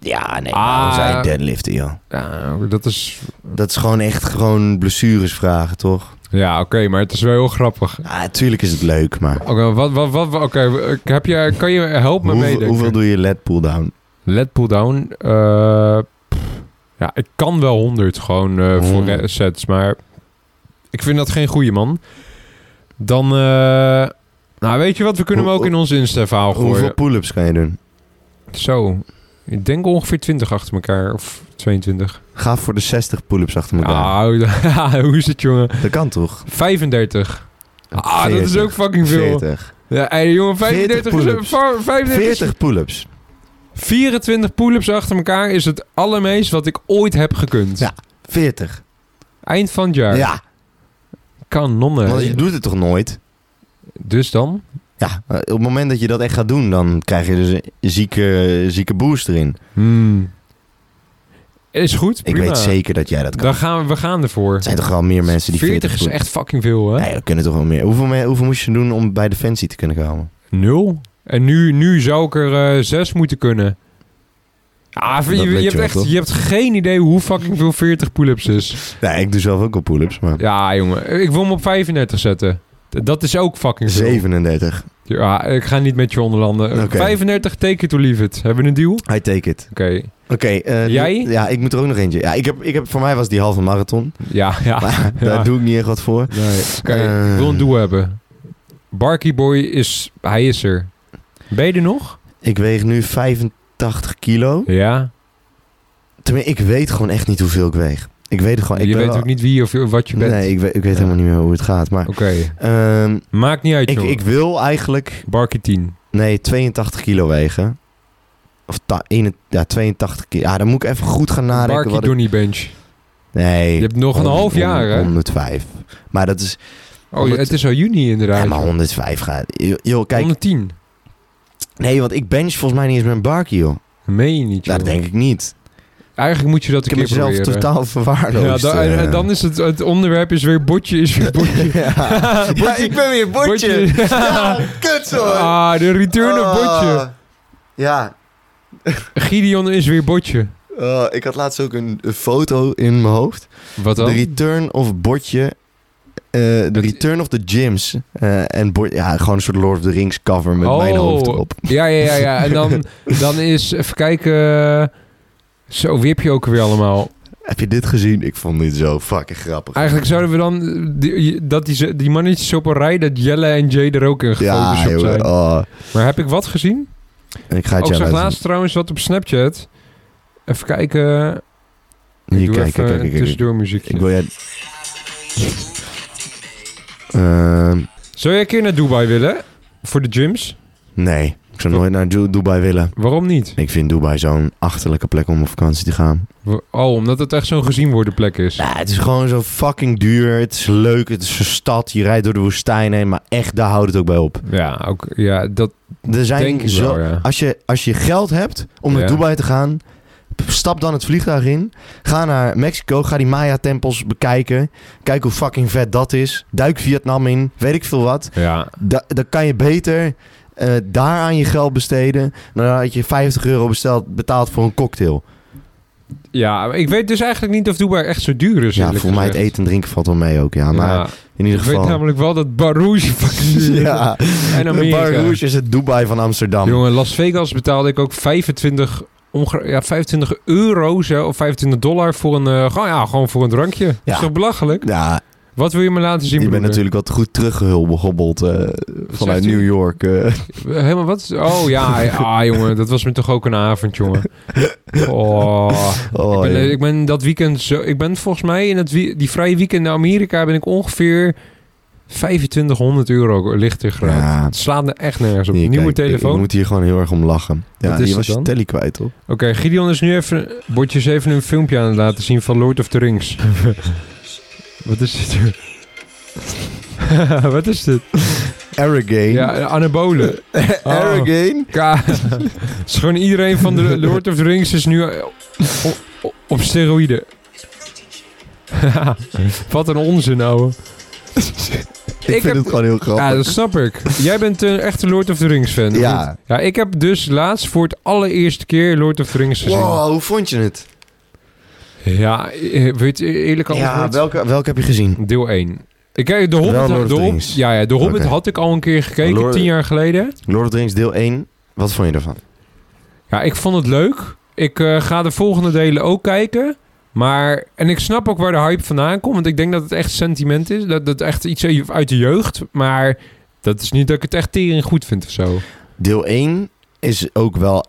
B: ja nee.
A: Ah.
B: Waarom zei je deadliften, joh?
A: Nou, dat is...
B: Dat is gewoon echt gewoon blessures vragen, toch?
A: Ja, oké, maar het is wel heel grappig.
B: Ja, tuurlijk is het leuk, maar...
A: Oké, wat, wat, wat, wat- oké, heb je, kan je help me
B: Hoeveel,
A: meedenken?
B: hoeveel doe je led pull down?
A: Let pull down. eh, pff, ja, ik kan wel 100 gewoon eh, voor
B: Hmm.
A: sets, maar ik vind dat geen goeie man. Dan, eh, nou weet je wat, we kunnen hem
B: Hoe-
A: ook in ons Insta-verhaal
B: Hoeveel
A: gooien.
B: pull-ups kan je doen?
A: Zo, ik denk ongeveer 20 achter elkaar, of 22.
B: Ga voor de 60 pull-ups achter elkaar.
A: Nou, hoe is het jongen?
B: Dat kan toch?
A: 35. Ah, dat is
B: 40.
A: ook fucking veel.
B: 40.
A: Ja, hey, jongen, 35 is-
B: 40 pull-ups.
A: 35 is
B: 40 pull-ups.
A: 24 pull-ups achter elkaar is het allermeest wat ik ooit heb gekund.
B: Ja. 40.
A: Eind van het jaar.
B: Ja, want je
A: Kanonnen.
B: doet het toch nooit?
A: Dus dan?
B: Ja, eh, op het moment dat je dat echt gaat doen, dan krijg je dus een zieke, zieke boost erin.
A: Is goed,
B: Hmm. Ik
A: prima.
B: weet zeker dat jij dat kan.
A: Dan gaan we, we gaan ervoor.
B: Er zijn toch wel meer mensen die 40,
A: 40 is echt fucking veel, hè?
B: Nee, dat kunnen toch wel meer. Hoeveel, me- hoeveel moest je doen om bij Defensie te kunnen komen?
A: Nul. En nu, nu zou ik er eh, zes moeten kunnen. Ah, je,
B: weet
A: je
B: je
A: hebt
B: wel,
A: echt,
B: toch?
A: je hebt geen idee hoe fucking veel 40 pull-ups is.
B: Nee, ik doe zelf ook al pull-ups, maar...
A: Ja, jongen. Ik wil hem op 35 zetten. D- Dat is ook fucking veel.
B: 37.
A: Ja, ik ga niet met je onderlanden.
B: Oké.
A: 35, take it or leave it. Hebben we een deal? Oké.
B: I take it. Oké. eh,
A: Jij?
B: Ja, ik moet er ook nog eentje. Ja, ik heb, ik heb, voor mij was die halve marathon.
A: Ja, ja.
B: Maar daar
A: Ja.
B: doe ik niet echt wat voor.
A: Nee. Oké,
B: Eh.
A: ik wil een doel hebben. Barkie Boy is... Hij is er. Ben je er nog?
B: Ik weeg nu 85 kilo.
A: Ja.
B: Tenminste, ik weet gewoon echt niet hoeveel ik weeg. Ik weet het gewoon. Ik
A: je
B: ben
A: weet
B: wel-
A: ook niet wie of wat je bent.
B: Nee, ik weet, ik weet helemaal niet meer hoe het gaat. Maar
A: Oké.
B: ehm,
A: Maakt niet uit,
B: ik,
A: joh.
B: ik wil eigenlijk...
A: Barkie 10.
B: Nee, 82 kilo wegen. Of ta- ene- ja, 82 kilo. Ja, dan moet ik even goed gaan nadenken.
A: Barkie
B: wat ik-
A: Donny Bench.
B: Nee.
A: Je hebt nog een half jaar, hè?
B: 105. Maar dat is...
A: Oh, het is al juni inderdaad.
B: Ja, maar 105 gaat... Joh, joh, kijk...
A: 110.
B: Nee, want ik bench volgens mij niet eens mijn barkie, joh.
A: Meen je niet, joh.
B: Nou, dat denk ik niet.
A: Eigenlijk moet je dat
B: Ik
A: een
B: heb
A: keer
B: mezelf
A: proberen.
B: totaal
A: Ja,
B: verwaarloosd.
A: dan, en- en
B: eh.
A: dan is het, het onderwerp is weer botje is weer botje.
B: ja. Ja, ik ben weer botje. Ja, kut hoor.
A: ah, de return
B: Ah.
A: of botje.
B: Ja.
A: Gideon is weer botje.
B: Eh, ik had laatst ook een, een foto in mijn hoofd.
A: Wat
B: De
A: dan?
B: return of botje. eh, De
A: Het-
B: return of the gyms. Eh, en bot, ja, gewoon een soort Lord of the Rings cover met
A: Oh.
B: mijn hoofd erop.
A: Ja, ja, ja, ja. En dan, dan is, even kijken. Zo, wie heb je ook weer allemaal?
B: Heb je dit gezien? Ik vond dit zo fucking grappig.
A: Eigenlijk zouden we dan, die, dat die, ze- die mannetjes op een rij, dat Jelle en Jay er ook in
B: ja,
A: gefotoshopt
B: jongen.
A: zijn.
B: Oh.
A: Maar heb ik wat gezien?
B: En Ik ga het
A: Ook
B: jou
A: zag
B: laten
A: laatst trouwens wat op Snapchat. Even kijken. Ik
B: Hier,
A: doe
B: kijk,
A: even
B: kijk, kijk,
A: een
B: kijk, kijk.
A: tussendoor muziekje.
B: Ik wil jij... Ehm,
A: Zou jij een keer naar Dubai willen? Voor de gyms?
B: nee, ik zou nooit naar Du- Dubai willen.
A: Waarom niet?
B: Ik vind Dubai zo'n achterlijke plek om op vakantie te gaan.
A: Wa- Oh, omdat het echt zo'n gezien worden plek is.
B: Ja, het is gewoon zo fucking duur. Het is leuk. Het is een stad. Je rijdt door de woestijn heen. Maar echt, daar houdt het ook bij op.
A: Ja, ook, ja dat
B: Er zijn
A: denk ik
B: zo...
A: wel, ja.
B: Als je, als je geld hebt om naar
A: Ja.
B: Dubai te gaan, p- stap dan het vliegtuig in. Ga naar Mexico, ga die Maya-tempels bekijken. Kijk hoe fucking vet dat is. Duik Vietnam in, weet ik veel wat.
A: Ja,
B: Da- dan kan je beter eh, daar aan je geld besteden. Dan had je 50 euro besteld, betaald voor een cocktail.
A: ja maar ik weet dus eigenlijk niet of Dubai echt zo duur is.
B: Ja,
A: eerlijk
B: voor mij het
A: gezegd.
B: eten en drinken valt wel mee ook. Ja, maar
A: Ja,
B: in ieder
A: ik weet
B: geval.
A: namelijk wel dat Barouche fucking duur is.
B: Ja,
A: En
B: de
A: Amerika.
B: Bar Rouge is het Dubai van Amsterdam.
A: Jongen, Las Vegas betaalde ik ook 25, onge- ja, 25 euro zo, of 25 dollar voor een, eh, gewoon, ja, gewoon voor een drankje. Dat is toch belachelijk?
B: Ja,
A: Wat wil je me laten zien?
B: je bent
A: broeder?
B: natuurlijk wat goed teruggehobbeld eh vanuit
A: u?
B: New York. eh.
A: Helemaal wat? Oh ja, ja, ah, jongen, dat was me toch ook een avond, jongen. Oh.
B: Oh,
A: ik, ben,
B: joh.
A: ik ben dat weekend zo. Ik ben volgens mij in het wie- die vrije weekend naar Amerika ben ik ongeveer 2500 euro lichter geraakt.
B: Ja.
A: Het slaat er echt nergens op.
B: Hier,
A: Nieuwe
B: kijk, ik-
A: telefoon.
B: Ik moet hier gewoon heel erg om lachen. Ja,
A: Wat is
B: die
A: het
B: was je
A: dan?
B: telly kwijt, hoor.
A: Oké, Gideon is nu even. Bordjes even een filmpje aan het laten zien van Lord of the Rings. Wat is dit? Wat is dit?
B: Arrogane.
A: Ja, oh. anabolen.
B: Arrogane.
A: Ka- Het is gewoon iedereen van de Lord of the Rings is nu eh, op, op- op steroïden. Wat een onzin, ouwe.
B: Ik,
A: Ik
B: vind
A: heb-
B: het gewoon heel grappig.
A: Ja, dat snap ik. Jij bent eh, een echte Lord of the Rings fan. of
B: Ja.
A: niet? ja. Ik heb dus laatst voor het allereerste keer Lord of the Rings gezien.
B: Wow, hoe vond je het?
A: Ja, eh, weet je eerlijk
B: Ja,
A: antwoord?
B: welke, welke heb je gezien?
A: Deel 1. Ik kijk, de Hobbit,
B: Lord of
A: de
B: the
A: Hob-
B: Rings.
A: ja, ja, de Hobbit
B: Oké.
A: had ik al een keer gekeken,
B: Lord-
A: tien jaar geleden.
B: Lord of the Rings deel 1. Wat vond je ervan?
A: Ja, ik vond het leuk. Ik eh, ga de volgende delen ook kijken. Maar, en ik snap ook waar de hype vandaan komt. Want ik denk dat het echt sentiment is. Dat dat echt iets uit de jeugd. Maar dat is niet dat ik het echt tering goed vind of zo.
B: Deel 1 is ook wel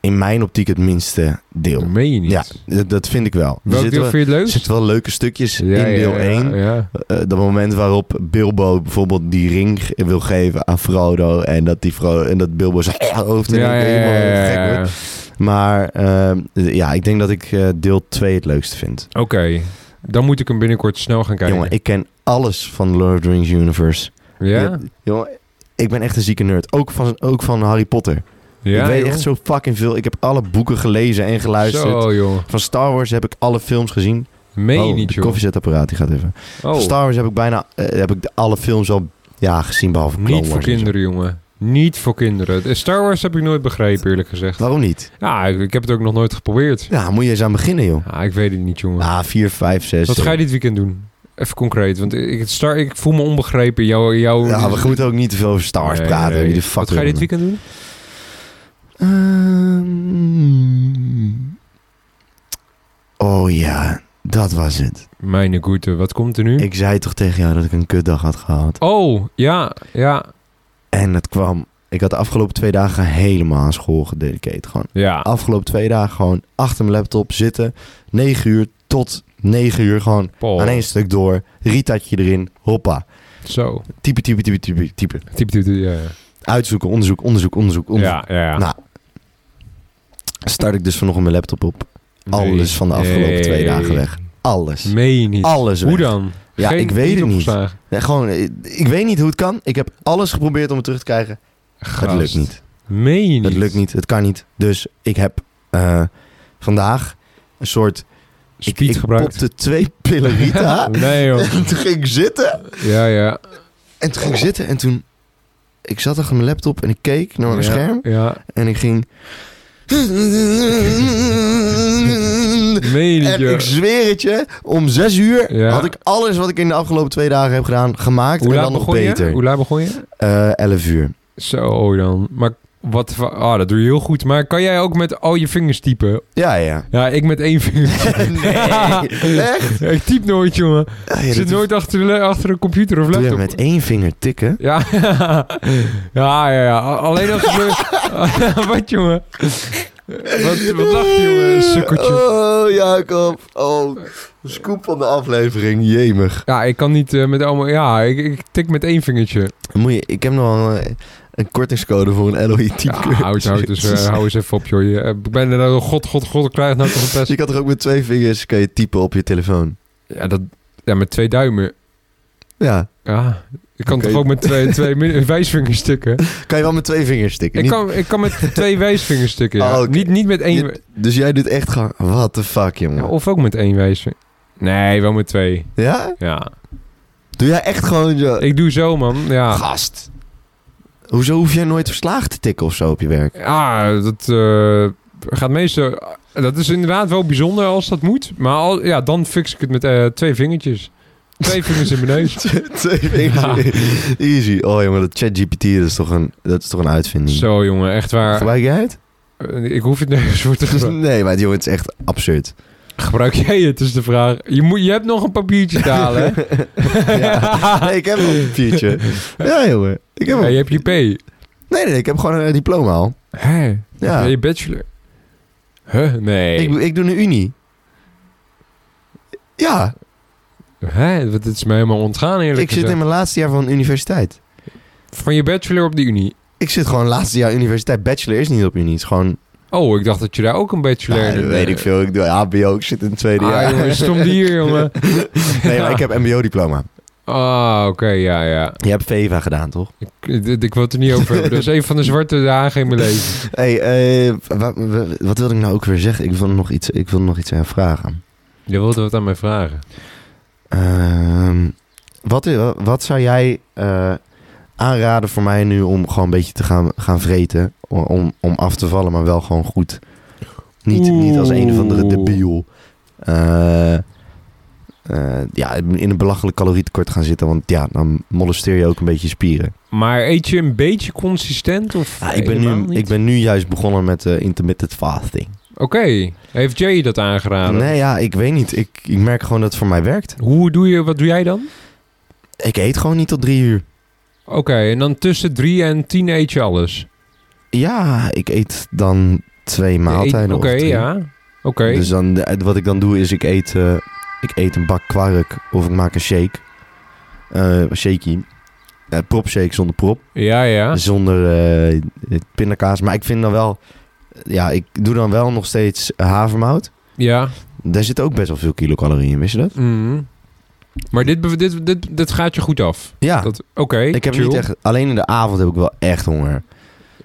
B: in mijn optiek het minste deel.
A: Dat meen je niet.
B: Ja, dat, dat vind ik wel. Er
A: Welk
B: zitten
A: deel
B: wel,
A: vind je het
B: er
A: leukst?
B: zitten wel leuke stukjes
A: Ja,
B: in deel
A: ja, ja,
B: 1.
A: Ja.
B: Eh, dat moment waarop Bilbo bijvoorbeeld die ring ge- wil geven aan Frodo. En dat, die Frodo, en dat Bilbo zijn hoofd
A: Ja,
B: en
A: ja, ja,
B: helemaal
A: ja,
B: gek
A: ja.
B: wordt. Maar ehm, ja, ik denk dat ik eh, deel 2 het leukste vind.
A: Oké, dan moet ik hem binnenkort snel gaan kijken.
B: Jongen, ik ken alles van Lord of the Rings Universe.
A: ja?
B: Jongen, ik ben echt een zieke nerd. Ook van, ook van Harry Potter.
A: ja,
B: ik weet
A: joh.
B: echt zo fucking veel. Ik heb alle boeken gelezen en geluisterd.
A: Zo, joh.
B: Van Star Wars heb ik alle films gezien.
A: Meen je
B: oh,
A: niet,
B: de
A: joh.
B: koffiezetapparaat, die gaat even.
A: Oh,
B: Van Star Wars heb ik bijna eh, heb ik de- alle films al ja, gezien, behalve Clone
A: niet voor
B: Wars en zo.
A: kinderen, jongen. Niet voor kinderen. De Star Wars heb ik nooit begrepen, eerlijk gezegd.
B: Waarom niet?
A: Ja, ik, ik heb het ook nog nooit geprobeerd.
B: Ja, moet je eens aan beginnen, joh.
A: Ja, ik weet het niet, jongen.
B: Ah, 4, 5, 6.
A: Wat ga je dit weekend doen? Even concreet, want ik, ik- Star, ik voel me onbegrepen. Jouw, jouw...
B: Ja, we moeten ook niet te veel over Star Wars
A: Nee,
B: praten.
A: nee.
B: Wie de fuck
A: Wat ga je
B: wil
A: dit
B: dat?
A: weekend doen?
B: Ehm. oh ja, dat was het.
A: Mijn goede, wat komt er nu?
B: Ik zei toch tegen jou dat ik een kutdag had gehad.
A: Oh, ja, ja,
B: En het kwam... Ik had de afgelopen twee dagen helemaal aan school gededicateerd. Gewoon
A: ja.
B: afgelopen twee dagen gewoon achter mijn laptop zitten. 9 uur tot 9 uur gewoon
A: Paul.
B: aan één stuk door. Ritatje erin. Hoppa.
A: Zo.
B: Type, type, type, type, type.
A: Typ, typ, typ, ja, ja.
B: Uitzoeken, onderzoek, onderzoek, onderzoek, onderzoek.
A: Ja, ja, ja.
B: Nou, Start ik dus vanochtend mijn laptop op.
A: Nee.
B: Alles van de afgelopen
A: Nee.
B: twee dagen weg. Alles.
A: Meen je niet.
B: Alles
A: Hoe
B: weg.
A: dan?
B: Ja,
A: Geen-
B: ik weet het niet.
A: opgeslagen.
B: Nee, gewoon, ik, ik weet niet hoe het kan. Ik heb alles geprobeerd om het terug te krijgen.
A: Gast.
B: Het lukt niet.
A: Meen je niet.
B: Het lukt niet. Het kan niet. Dus ik heb eh, vandaag een soort... Ik,
A: Speed
B: ik
A: gebruikt.
B: popte twee pillen Rita.
A: nee, joh.
B: en toen ging ik zitten.
A: Ja, ja.
B: En toen ging ik zitten. En toen... Ik zat achter mijn laptop en ik keek naar mijn
A: ja,
B: scherm.
A: Ja.
B: En ik ging...
A: Meen je niet,
B: En
A: joh.
B: ik zweer het je, om zes uur
A: Ja.
B: had ik alles wat ik in de afgelopen twee dagen heb gedaan gemaakt.
A: Hoe
B: en
A: laat
B: dan nog
A: begon je?
B: beter.
A: Hoe laat begon je?
B: Eh, 11 uur.
A: Zo dan. Maar wat... va- Ah, dat doe je heel goed. Maar kan jij ook met al je vingers typen?
B: Ja, ja.
A: Ja, ik met één vinger.
B: nee, echt?
A: Ja, ik typ nooit, jongen.
B: Ah, ja,
A: Ik
B: dat
A: zit nooit achter, de le- achter een computer of
B: doe je
A: laptop.
B: met één vinger tikken.
A: Ja, ja, ja, ja. A- Alleen als... we- Wat, jongen? Wat, wat lacht je, jongen, sukkeltje.
B: Oh, Jacob. Oh, scoop van de aflevering. Jemig.
A: Ja, ik kan niet eh, met allemaal... Ja, ik, ik tik met één vingertje.
B: Moet je, ik heb nog wel eh, een kortingscode voor een LOI
A: Ja,
B: type.
A: houd, houd, dus, eh, hou eens even op, joh. Je, eh, ik ben er nou... God, god, god, ik krijg nou toch een
B: Je
A: pest.
B: kan toch ook met twee vingers kan je typen op je telefoon?
A: Ja, dat, ja, met twee duimen.
B: Ja.
A: Ja, ik kan
B: Oké.
A: toch ook met twee, twee min- wijsvingers stikken?
B: Kan je wel met twee vingers stikken?
A: Ik
B: Niet-
A: kan, ik kan met twee wijsvingers stikken, ja.
B: Oh, oké.
A: niet, niet met één...
B: je- dus jij doet echt gewoon... What the fuck, jongen?
A: Ja,
B: Ja,
A: of ook met één wijsvinger. Nee, wel met twee. Ja.
B: Doe jij echt gewoon... Zo...
A: Ik doe zo, man. Ja.
B: Gast. Hoezo hoef jij nooit verslaagd te tikken of zo op je werk?
A: Ah, dat eh, gaat meestal... Dat is inderdaad wel bijzonder als dat moet. Maar al, ja, dan fix ik het met eh, twee vingertjes. Twee vingers in mijn neus.
B: twee vingers. Easy. Oh jongen, dat ChatGPT dat is toch een, dat is toch een uitvinding.
A: Zo, jongen. Echt waar.
B: Gebruik jij het?
A: Eh, Ik hoef het nergens voor te gebruiken.
B: Nee, maar jongen, het is echt absurd.
A: Gebruik jij het, is de vraag. Je, moet, je hebt nog een papiertje te halen, hè?
B: ja. Nee, ik heb nog een papiertje. Ja, jongen. Ik heb
A: Ja,
B: hem.
A: je hebt je P.
B: Nee, nee, ik heb gewoon een eh, diploma al.
A: Hé,
B: Ja.
A: ben je bachelor? Huh? Nee.
B: Ik, ik doe een unie. Ja,
A: Hé, wat- dit is mij helemaal ontgaan, eerlijk
B: ik zit
A: gezegd.
B: in mijn laatste jaar van universiteit.
A: Van je bachelor op de unie.
B: Ik zit gewoon laatste jaar universiteit. Bachelor is niet op unie. Het is gewoon...
A: Oh, ik dacht dat je daar ook een bachelor...
B: Ja,
A: in-
B: weet ik veel. Ik doe HBO. Ik zit in het tweede
A: Ah,
B: jaar.
A: jongen, stom dier, jongen.
B: Nee, maar ik heb mbo-diploma.
A: Ah, oké, ja, ja.
B: Je hebt VEVA gedaan, toch?
A: Ik, dit- ik wil het er niet over hebben. Dat is een van de zwarte dagen in mijn leven.
B: hey, eh, wa- wa- wat wilde ik nou ook weer zeggen? Ik wilde nog iets, ik wilde nog iets aan vragen.
A: Je wilde wat aan mij vragen.
B: Ehm, wat, i- wat zou jij eh, aanraden voor mij nu om gewoon een beetje te gaan, gaan vreten? O- Om, om af te vallen, maar wel gewoon goed. Niet, niet als een of andere
A: Oeh.
B: debiel. Eh, eh, ja, in een belachelijk calorietekort gaan zitten. Want ja, dan molesteer je ook een beetje je spieren.
A: Maar eet je een beetje consistent? Of
B: Ja, Ah, ik, ben
A: helemaal
B: nu,
A: niet?
B: ik ben nu juist begonnen met eh, intermittent fasting.
A: Oké, heeft Jay Ah, dat aangeraden?
B: nee, ja, ik weet niet. Ik, ik merk gewoon dat het voor mij werkt.
A: Hoe doe je, wat doe jij dan?
B: Ik eet gewoon niet tot drie uur.
A: Oké, en dan tussen drie en tien eet je alles?
B: Ja, ik eet dan twee maaltijden
A: Eet- Oké,
B: of drie.
A: ja. Oké.
B: Dus dan, eh, wat ik dan doe is ik eet, eh, ik eet een bak kwark of ik maak een shake. Eh shaky. Eh prop shake zonder prop.
A: Ja, ja.
B: Zonder eh, pindakaas. Maar ik vind dan wel... Ja, ik doe dan wel nog steeds havermout.
A: Ja.
B: Daar zit ook best wel veel kilocalorieën in, wist je dat?
A: Mhm. Maar dit, bev- dit, dit, dit gaat je goed af.
B: Ja.
A: Dat- Oké,
B: Ik heb
A: chill.
B: niet echt, alleen in de avond heb ik wel echt honger.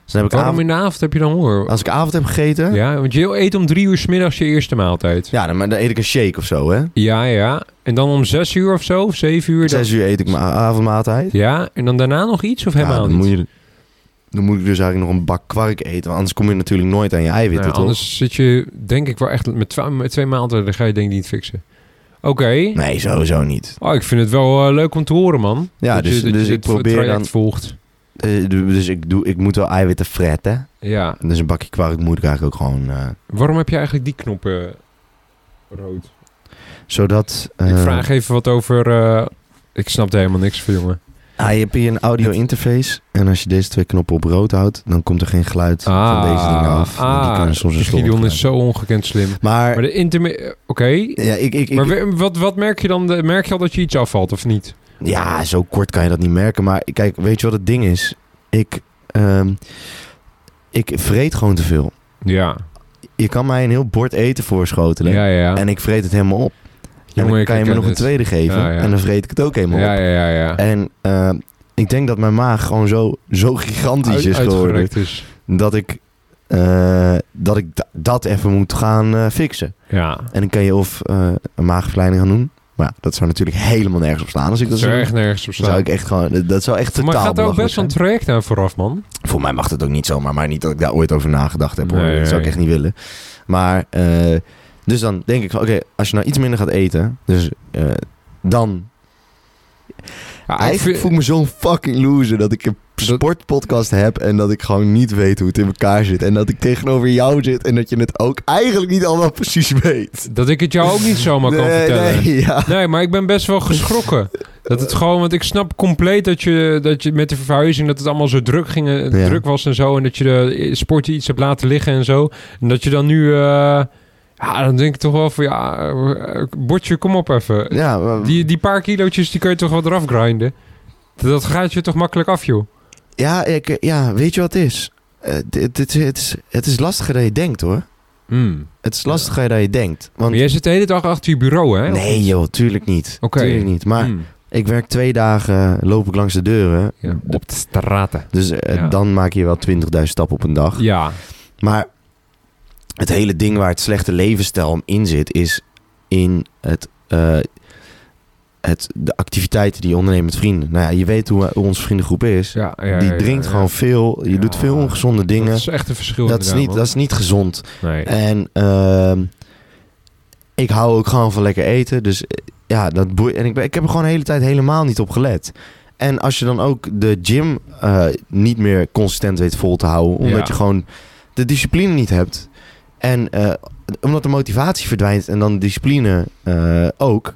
B: Dus dan heb ik
A: Waarom
B: avond,
A: in de avond heb je dan honger?
B: als ik avond heb gegeten, ja.
A: Ja, want je eet om drie uur 's middags je eerste maaltijd.
B: dan, maar dan eet ik een shake of zo, hè.
A: Ja, ja. En dan om zes uur of zo, of zeven uur. Dan...
B: Zes uur eet ik mijn a- avondmaaltijd.
A: Ja, en dan daarna nog iets of
B: Ja,
A: helemaal
B: dan,
A: niet?
B: Moet je, dan moet ik dus eigenlijk nog een bak kwark eten. Want anders kom je natuurlijk nooit aan je
A: Nou ja,
B: eiwitten, toch?
A: anders zit je denk ik wel echt met, twa- met twee maaltijden, dan ga je denk ik niet fixen. Oké.
B: Nee, sowieso niet.
A: Oh, ik vind het wel eh, leuk om te horen, man.
B: Ja,
A: Dat
B: dus-
A: je, dat
B: dus
A: je
B: ik
A: dit
B: probeer
A: traject
B: dan-
A: volgt.
B: Eh, du- dus ik, doe, ik moet wel eiwitten fretten.
A: Ja.
B: Dus een bakje kwark moet ik eigenlijk ook gewoon... eh,
A: Waarom heb je eigenlijk die knoppen eh, rood?
B: zodat...
A: Ik
B: eh,
A: vraag even wat over... eh, Ik snap er helemaal niks van, jongen.
B: ah, je hebt hier een audio interface. En als je deze twee knoppen op rood houdt, dan komt er geen geluid van deze dingen af. En die
A: ah,
B: kunnen soms een slot
A: Gideon is
B: opkrijgen.
A: zo ongekend slim.
B: Maar
A: Maar de intermi... Oké.
B: Ja, ik, ik, ik-
A: Maar we- wat, wat merk je dan? Merk je al dat je iets afvalt of niet?
B: ja, zo kort kan je dat niet merken. Maar kijk, weet je wat het ding is? Ik, ehm, ik vreet gewoon te veel.
A: Ja.
B: Je kan mij een heel bord eten voorschotelen.
A: Ja, ja, ja.
B: En ik vreet het helemaal op.
A: Jongen,
B: en dan
A: ik
B: kan je me
A: herken
B: nog een
A: het.
B: tweede geven.
A: Ja, ja.
B: En dan vreet ik het ook helemaal
A: Ja,
B: op.
A: ja, ja. ja.
B: En ehm, ik denk dat mijn maag gewoon zo, zo gigantisch
A: Uit-
B: is dus geworden.
A: uitgerekt is.
B: Dat ik, eh, dat, ik da- dat even moet gaan eh, fixen.
A: Ja.
B: En dan kan je of eh, een maagverkleining gaan doen. Maar ja, dat zou natuurlijk helemaal nergens op staan als
A: Dat
B: ik dat
A: zou
B: zou
A: echt nergens op
B: Dat zou
A: staan.
B: ik echt gewoon, dat zou echt
A: Maar
B: totaal
A: gaat er ook
B: belachelijk
A: best wel een
B: zijn.
A: traject aan vooraf, man.
B: Voor mij mag het ook niet zomaar, maar niet dat ik daar ooit over nagedacht heb. Hoor.
A: Nee,
B: dat zou ik
A: nee.
B: echt niet willen. Maar, eh, dus dan denk ik van, oké, als je nou iets minder gaat eten, dus eh, dan...
A: Ja, ik
B: Eigenlijk
A: vind-
B: voel ik me zo'n fucking loser dat ik een
A: Dat-
B: sportpodcast heb en dat ik gewoon niet weet hoe het in elkaar zit. En dat ik tegenover jou zit en dat je het ook eigenlijk niet allemaal precies weet.
A: Dat ik het jou ook niet zomaar kan
B: nee,
A: vertellen. Nee.
B: nee, ja.
A: maar ik ben best wel geschrokken. Dat het gewoon, want ik snap compleet dat je, dat je met de verhuizing, dat het allemaal zo druk, ging, eh,
B: Ja.
A: druk was en zo. En dat je de sporten iets hebt laten liggen en zo. En dat je dan nu, eh, ja, dan denk ik toch wel van, ja, eh, bordje, kom op even.
B: Ja, maar-
A: Die, die paar kilootjes, die kun je toch wat eraf grinden? Dat gaat je toch makkelijk af, joh.
B: ja, ik, ja, weet je wat het is? Eh, dit, dit, het is? Het is lastiger dan je denkt hoor. Het is lastiger dan je denkt. Want,
A: Maar jij zit de hele dag achter je bureau, hè?
B: nee joh, tuurlijk niet.
A: Oké.
B: Tuurlijk niet. Maar
A: Mm.
B: ik werk twee dagen, loop ik langs de deuren.
A: Ja, op de straten.
B: Dus eh,
A: Ja.
B: dan maak je wel 20.000 stappen op een dag.
A: Ja.
B: Maar het hele ding waar het slechte levensstijl om in zit, is in het, eh, het, de activiteiten die je onderneemt met vrienden. Nou ja, je weet hoe, hoe onze vriendengroep is.
A: ja, ja
B: die
A: ja,
B: drinkt
A: ja.
B: gewoon veel. Je
A: Ja.
B: doet veel ongezonde dingen.
A: Dat is echt een verschil.
B: Dat is, niet, dat
A: inderdaad,
B: is niet gezond.
A: man. Nee.
B: En ehm, ik hou ook gewoon van lekker eten. Dus eh, ja, dat boeit. En ik, ben- ik heb er gewoon de hele tijd helemaal niet op gelet. En als je dan ook de gym eh, niet meer consistent weet vol te houden. Omdat
A: Ja.
B: je gewoon de discipline niet hebt. En eh, omdat de motivatie verdwijnt en dan de discipline eh, ook.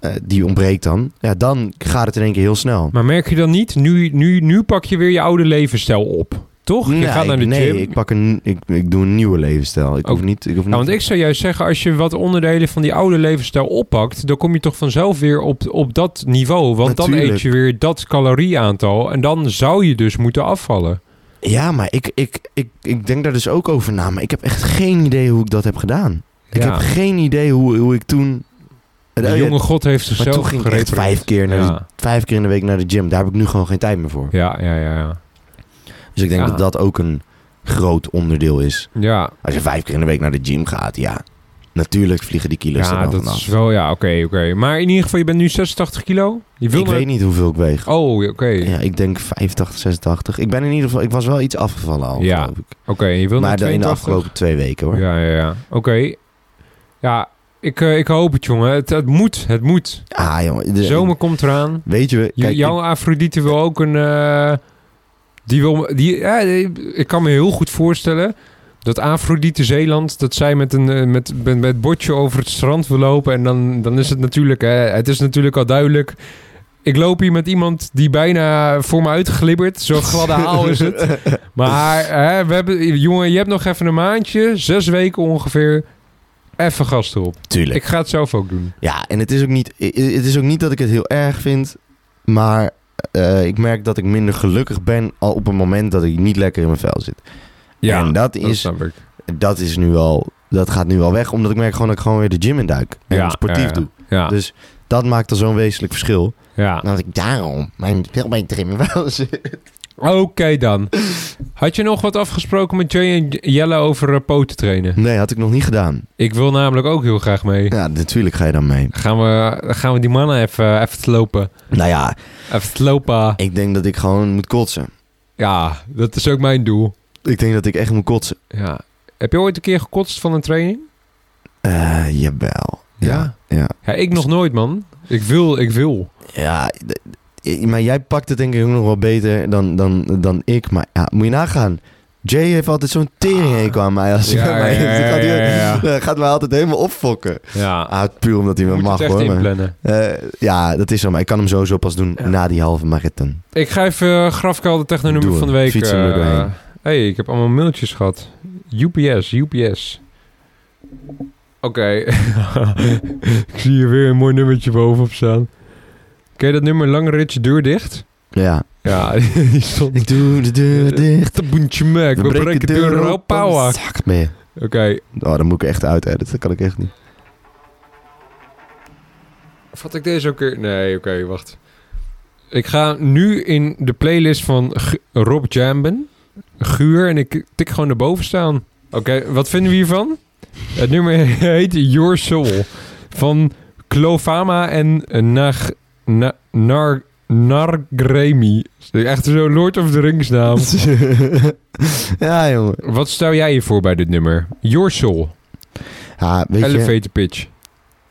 B: eh, die ontbreekt dan. Ja, dan gaat het in één keer heel snel.
A: Maar merk je dan niet, nu, nu, nu pak je weer je oude levensstijl op. Toch?
B: Nee,
A: je gaat naar de
B: ik- nee,
A: gym.
B: ik, pak een, ik, ik doe een nieuwe levensstijl. Ik
A: Ook-
B: hoef niet...
A: Ja,
B: Ik hoef niet
A: Nou, want ik zou juist zeggen, als je wat onderdelen van die oude levensstijl oppakt, dan kom je toch vanzelf weer op, op dat niveau. Want dan eet
B: Natuurlijk.
A: je weer dat calorieaantal. En dan zou je dus moeten afvallen.
B: Ja, maar ik, ik, ik, ik denk daar dus ook over na. Maar ik heb echt geen idee hoe ik dat heb gedaan. Ik
A: ja.
B: heb geen idee hoe, hoe ik toen...
A: De
B: Eh,
A: jonge god heeft
B: maar
A: zichzelf
B: toen ging ik echt
A: gerepareerd.
B: vijf keer, naar de,
A: ja.
B: vijf keer in de week naar de gym. Daar heb ik nu gewoon geen tijd meer voor.
A: ja, ja, ja, ja.
B: Dus ik denk
A: Ja.
B: dat dat ook een groot onderdeel is.
A: Ja,
B: Als je vijf keer in de week naar de gym gaat, ja. Natuurlijk vliegen die kilo's er
A: ja
B: dan
A: dat
B: vanaf.
A: is wel... Ja, oké, oké. Maar in ieder geval, je bent nu 86 kilo. Je wil
B: Ik
A: maar-
B: weet niet hoeveel ik weeg.
A: Oh, oké.
B: Ja, ik denk 85, 86. Ik ben in ieder geval... Ik was wel iets afgevallen al,
A: Ja.
B: geloof ik.
A: Oké, je wil
B: Maar
A: naar
B: de- in de
A: 82?
B: afgelopen twee weken, hoor.
A: Ja, ja, ja. Oké. Ja, ik, eh, ik hoop het, jongen. Het, het moet, het moet.
B: Ah, jongen.
A: De
B: de-
A: zomer komt eraan.
B: Weet je...
A: J-
B: Kijk, ik-
A: Jouw Afrodite wil ook een... eh, die wil... Die, ja, ik kan me heel goed voorstellen... Dat Afrodite Zeeland, dat zij met een eh, met, met, met bordje over het strand wil lopen. En dan, dan is het natuurlijk, hè, het is natuurlijk al duidelijk. Ik loop hier met iemand die bijna voor me uitglibbert. Zo'n gladde haal is het. Maar hè, we hebben, jongen, je hebt nog even een maandje, zes weken ongeveer. Even gast erop.
B: Tuurlijk.
A: Ik ga het zelf ook doen.
B: Ja, en het is ook niet, i- i- het is ook niet dat ik het heel erg vind. Maar eh, ik merk dat ik minder gelukkig ben al op het moment dat ik niet lekker in mijn vel zit. en dat,
A: dat
B: is,
A: snap ik.
B: dat is nu al. Dat gaat nu al weg. Omdat ik merk gewoon dat ik gewoon weer de gym in duik. En sportief
A: ja, ja.
B: doe.
A: Ja,
B: Dus dat maakt al zo'n wezenlijk verschil.
A: ja.
B: Dat ik daarom mijn veel beter in mijn vel zit.
A: Oké dan. Had je nog wat afgesproken met Jay en Jelle over eh, poten trainen?
B: Nee, had ik nog niet gedaan.
A: Ik wil namelijk ook heel graag mee.
B: Ja, natuurlijk ga je dan mee.
A: Gaan we, gaan we die mannen even, even te lopen.
B: Nou ja,
A: Even te lopen.
B: ik denk dat ik gewoon moet kotsen.
A: Ja, dat is ook mijn doel.
B: Ik denk dat ik echt moet kotsen.
A: Ja. Heb je ooit een keer gekotst van een training?
B: Eh, jawel.
A: Ja.
B: Ja.
A: Ja, ik nog nooit, man. Ik wil, ik wil.
B: Ja, d- d- maar jij pakt het denk ik ook nog wel beter dan, dan, dan ik. Maar ja, moet je nagaan. Jay heeft altijd zo'n tering aan mij. Als hij
A: Ah. Ja,
B: bij mij
A: ja,
B: is. Dan gaat hij-
A: ja, ja,
B: dan gaat mij altijd helemaal opfokken.
A: Ja.
B: Ah, puur omdat hij
A: Je
B: me
A: moet
B: mag
A: het echt
B: hoor. maar-
A: inplannen.
B: Eh, ja, dat is zo. Maar ik kan hem sowieso pas doen
A: Ja.
B: na die halve marathon.
A: Ik ga even eh, Grafkuil de technonummer
B: Doe
A: van de
B: hem.
A: week.
B: Fiets hem
A: eh,
B: er doorheen.
A: hey, ik heb allemaal mailtjes gehad. UPS, UPS. Oké. ik zie hier weer een mooi nummertje bovenop staan. Ken je dat nummer Lange Ritje Deur Dicht?
B: Ja. Eh,
A: Ja, die stond...
B: Ik doe de deur dicht.
A: Echt een boentje mek. We breken deuren op, ouwe.
B: Zak mee.
A: Oké.
B: Oh, dan moet ik echt uitediten. Dat kan ik echt niet.
A: Vat ik deze ook weer? Nee, oké, wacht. Ik ga nu in de playlist van G- Rob Jamben. Guur. En ik tik gewoon naar boven staan. Oké, wat vinden we hiervan? Het nummer heet Your Soul. Van Clovama en Nag... Na, nar, Nargremi. Echt zo'n Lord of the Rings naam.
B: ja, jongen.
A: Wat stel jij je voor bij dit nummer? Your Soul.
B: Ja, weet je...
A: Elevator pitch.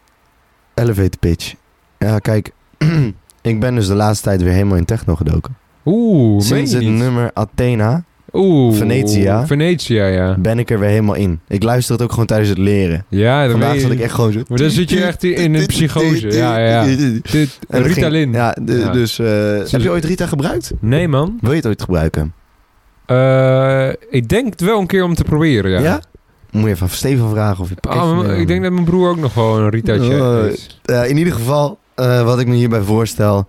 B: Elevator pitch. Ja, kijk. ik ben dus de laatste tijd weer helemaal in techno gedoken.
A: Oeh, meen
B: Sinds
A: je
B: het
A: niet?
B: nummer Athena
A: Oeh.
B: Venetia.
A: Venetia, ja.
B: ben ik er weer helemaal in. Ik luister het ook gewoon tijdens het leren.
A: Ja, dan
B: Vandaag
A: weet
B: zat
A: je-
B: ik echt gewoon zo...
A: Maar dan zit je echt in een psychose. Ja, ja, ja. Dit,
B: En dat ging-
A: Ritalin.
B: Ja, de-
A: Ja.
B: dus... eh, heb je ooit Rita gebruikt?
A: Nee, man.
B: Wil je het ooit gebruiken?
A: Eh, ik denk het wel een keer om te proberen, ja.
B: Moet je even aan Steven vragen of je pakketje...
A: Ah, maar ik denk dat mijn broer ook nog gewoon een Ritaatje
B: Oh,
A: heeft.
B: Eh, in ieder geval, eh, wat ik me hierbij voorstel...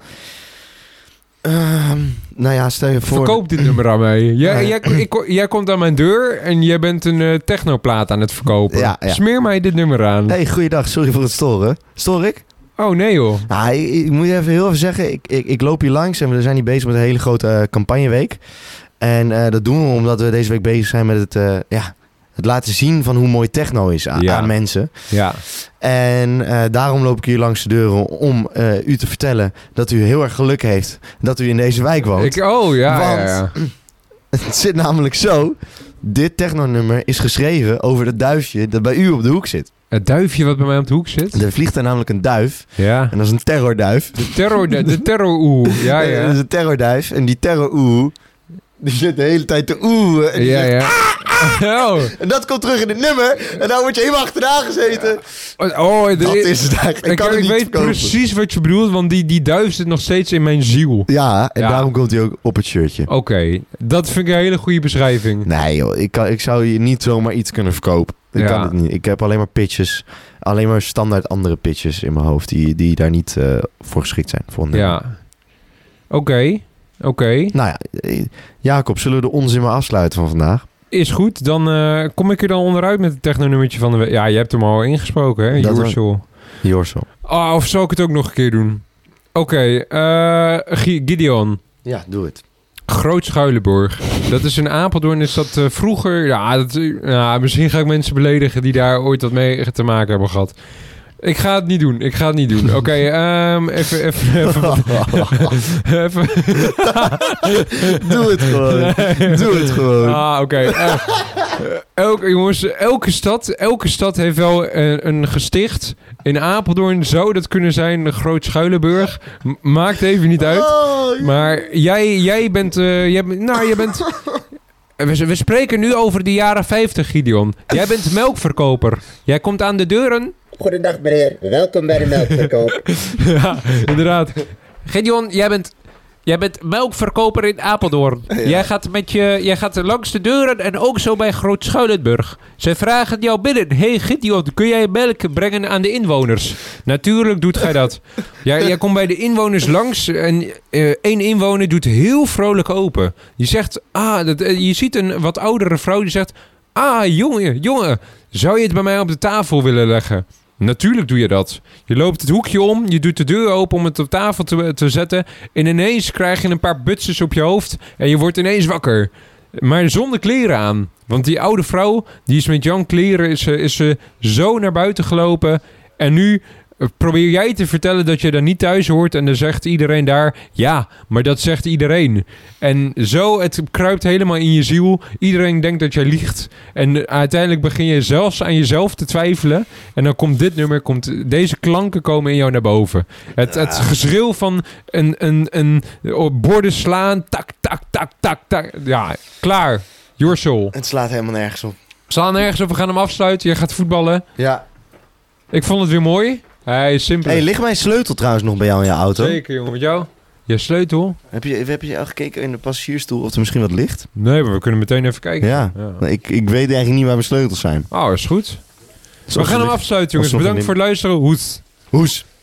B: Ehm, nou ja, stel je voor...
A: Verkoop dit nummer aan mij. Jij,
B: Ja.
A: jij, ik ko- jij komt aan mijn deur en jij bent een eh, technoplaat aan het verkopen.
B: Ja, ja.
A: Smeer mij dit nummer aan.
B: Hey, goeiedag. Sorry voor het storen. Stoor ik?
A: Oh, nee joh.
B: Nou, ik, ik moet even heel even zeggen, ik, ik, ik loop hier langs en we zijn hier bezig met een hele grote eh, campagneweek. En eh, dat doen we omdat we deze week bezig zijn met het, eh, ja, het laten zien van hoe mooi techno is aan,
A: Ja.
B: aan mensen.
A: Ja.
B: En eh, daarom loop ik hier langs de deuren om eh, u te vertellen dat u heel erg geluk heeft dat u in deze wijk woont.
A: Ik, oh, ja, ja,
B: Want-
A: ja.
B: Het zit namelijk zo, dit technonummer is geschreven over dat duifje dat bij u op de hoek zit.
A: Het duifje wat bij mij op de hoek zit.
B: Er vliegt daar namelijk een duif
A: Ja.
B: en dat is een terrorduif.
A: De terror, de, de terror oeh. Ja,
B: Eh, Dat
A: ja.
B: is een terrorduif. En die terror oeh, die zit de hele tijd te oeh. En, die
A: Ja,
B: zegt-
A: ja. Oh,
B: en dat komt terug in het nummer. En daar word je helemaal achterna gezeten.
A: oh, de-
B: Dat is het eigenlijk. Ik,
A: ik,
B: kan het
A: ik
B: niet
A: weet
B: verkopen.
A: precies wat je bedoelt, want die, die duif zit nog steeds in mijn ziel.
B: Ja, en
A: Ja.
B: daarom komt hij ook op het shirtje.
A: Oké, dat vind ik een hele goede beschrijving.
B: Nee joh, ik, kan, ik zou je niet zomaar iets kunnen verkopen. Ik
A: Ja.
B: kan het niet. Ik heb alleen maar pitches. Alleen maar standaard andere pitches in mijn hoofd. Die, die daar niet eh, voor geschikt zijn. Voor een nummer.
A: Ja. Oké, oké.
B: Nou ja, eh, Jacob, zullen we de onzin maar afsluiten van vandaag?
A: Is goed, dan eh, kom ik er dan onderuit met het technonummertje van de... we- Ja, je hebt hem al ingesproken, hè?
B: Dat
A: Joersel.
B: Jorso.
A: Ah, of zal ik het ook nog een keer doen? Oké, eh, Gi- Gideon.
B: Ja, doe het.
A: Groot Schuilenburg. Dat is in Apeldoorn. Is dat eh, vroeger... Ja, dat, eh, ja, misschien ga ik mensen beledigen die daar ooit wat mee te maken hebben gehad. Ik ga het niet doen. Ik ga het niet doen. Oké, ehm, even, even, even, wat- even...
B: Doe het gewoon. Doe het gewoon.
A: Ah, oké. Eh, elke, jongens, elke stad, elke stad heeft wel een, een gesticht. In Apeldoorn zou dat kunnen zijn, de Groot Schuilenburg. M- maakt even niet uit.
B: Oh,
A: Maar jij, jij bent... eh, jij, bent- nou, jij bent... We, we spreken nu over de jaren 50, Gideon. Jij bent melkverkoper. Jij komt aan de deuren.
C: Goedendag meneer, welkom bij de melkverkoop.
A: ja, inderdaad. Gideon, jij bent, jij bent melkverkoper in Apeldoorn. Jij, gaat met je, jij gaat langs de deuren en ook zo bij Groot Schuilenburg. Zij vragen jou binnen. hey Gideon, kun jij melk brengen aan de inwoners? Natuurlijk doet gij dat. Jij, jij komt bij de inwoners langs en eh, één inwoner doet heel vrolijk open. Je zegt, ah, dat, eh, je ziet een wat oudere vrouw die zegt... Ah, jongen, jongen, zou je het bij mij op de tafel willen leggen? Natuurlijk doe je dat. Je loopt het hoekje om, je doet de deur open om het op tafel te, te zetten. En ineens krijg je een paar butsjes op je hoofd en je wordt ineens wakker. Maar zonder kleren aan. Want die oude vrouw, die is met Jan kleren, is, ze- is ze zo naar buiten gelopen. En nu eh, probeer jij te vertellen dat je daar niet thuis hoort. En dan zegt iedereen daar, ja, maar dat zegt iedereen. En zo, het kruipt helemaal in je ziel. Iedereen denkt dat jij liegt. En eh, uiteindelijk begin je zelfs aan jezelf te twijfelen. En dan komt dit nummer, komt, deze klanken komen in jou naar boven. Het, het geschreeuw van een, een, een op borden slaan, tak, tak, tak, tak, tak. Ja, klaar. Your soul.
B: Het slaat helemaal nergens op.
A: Slaan nergens op, we gaan hem afsluiten. Jij gaat voetballen.
B: Ja.
A: Ik vond het weer mooi. Hij is simpel.
B: hey, ligt mijn sleutel trouwens nog bij jou in je auto?
A: Zeker, jongen, met jou. Je sleutel?
B: Heb je, heb je al gekeken in de passagiersstoel of er misschien wat ligt?
A: Nee, maar we kunnen meteen even kijken.
B: Ja.
A: Ja.
B: Nou, ik, ik weet eigenlijk niet waar mijn sleutels zijn.
A: Oh, is goed. We gaan hem afsluiten, jongens.
B: Alsnog
A: Bedankt
B: een-
A: voor het luisteren. Hoed.
B: Hoes.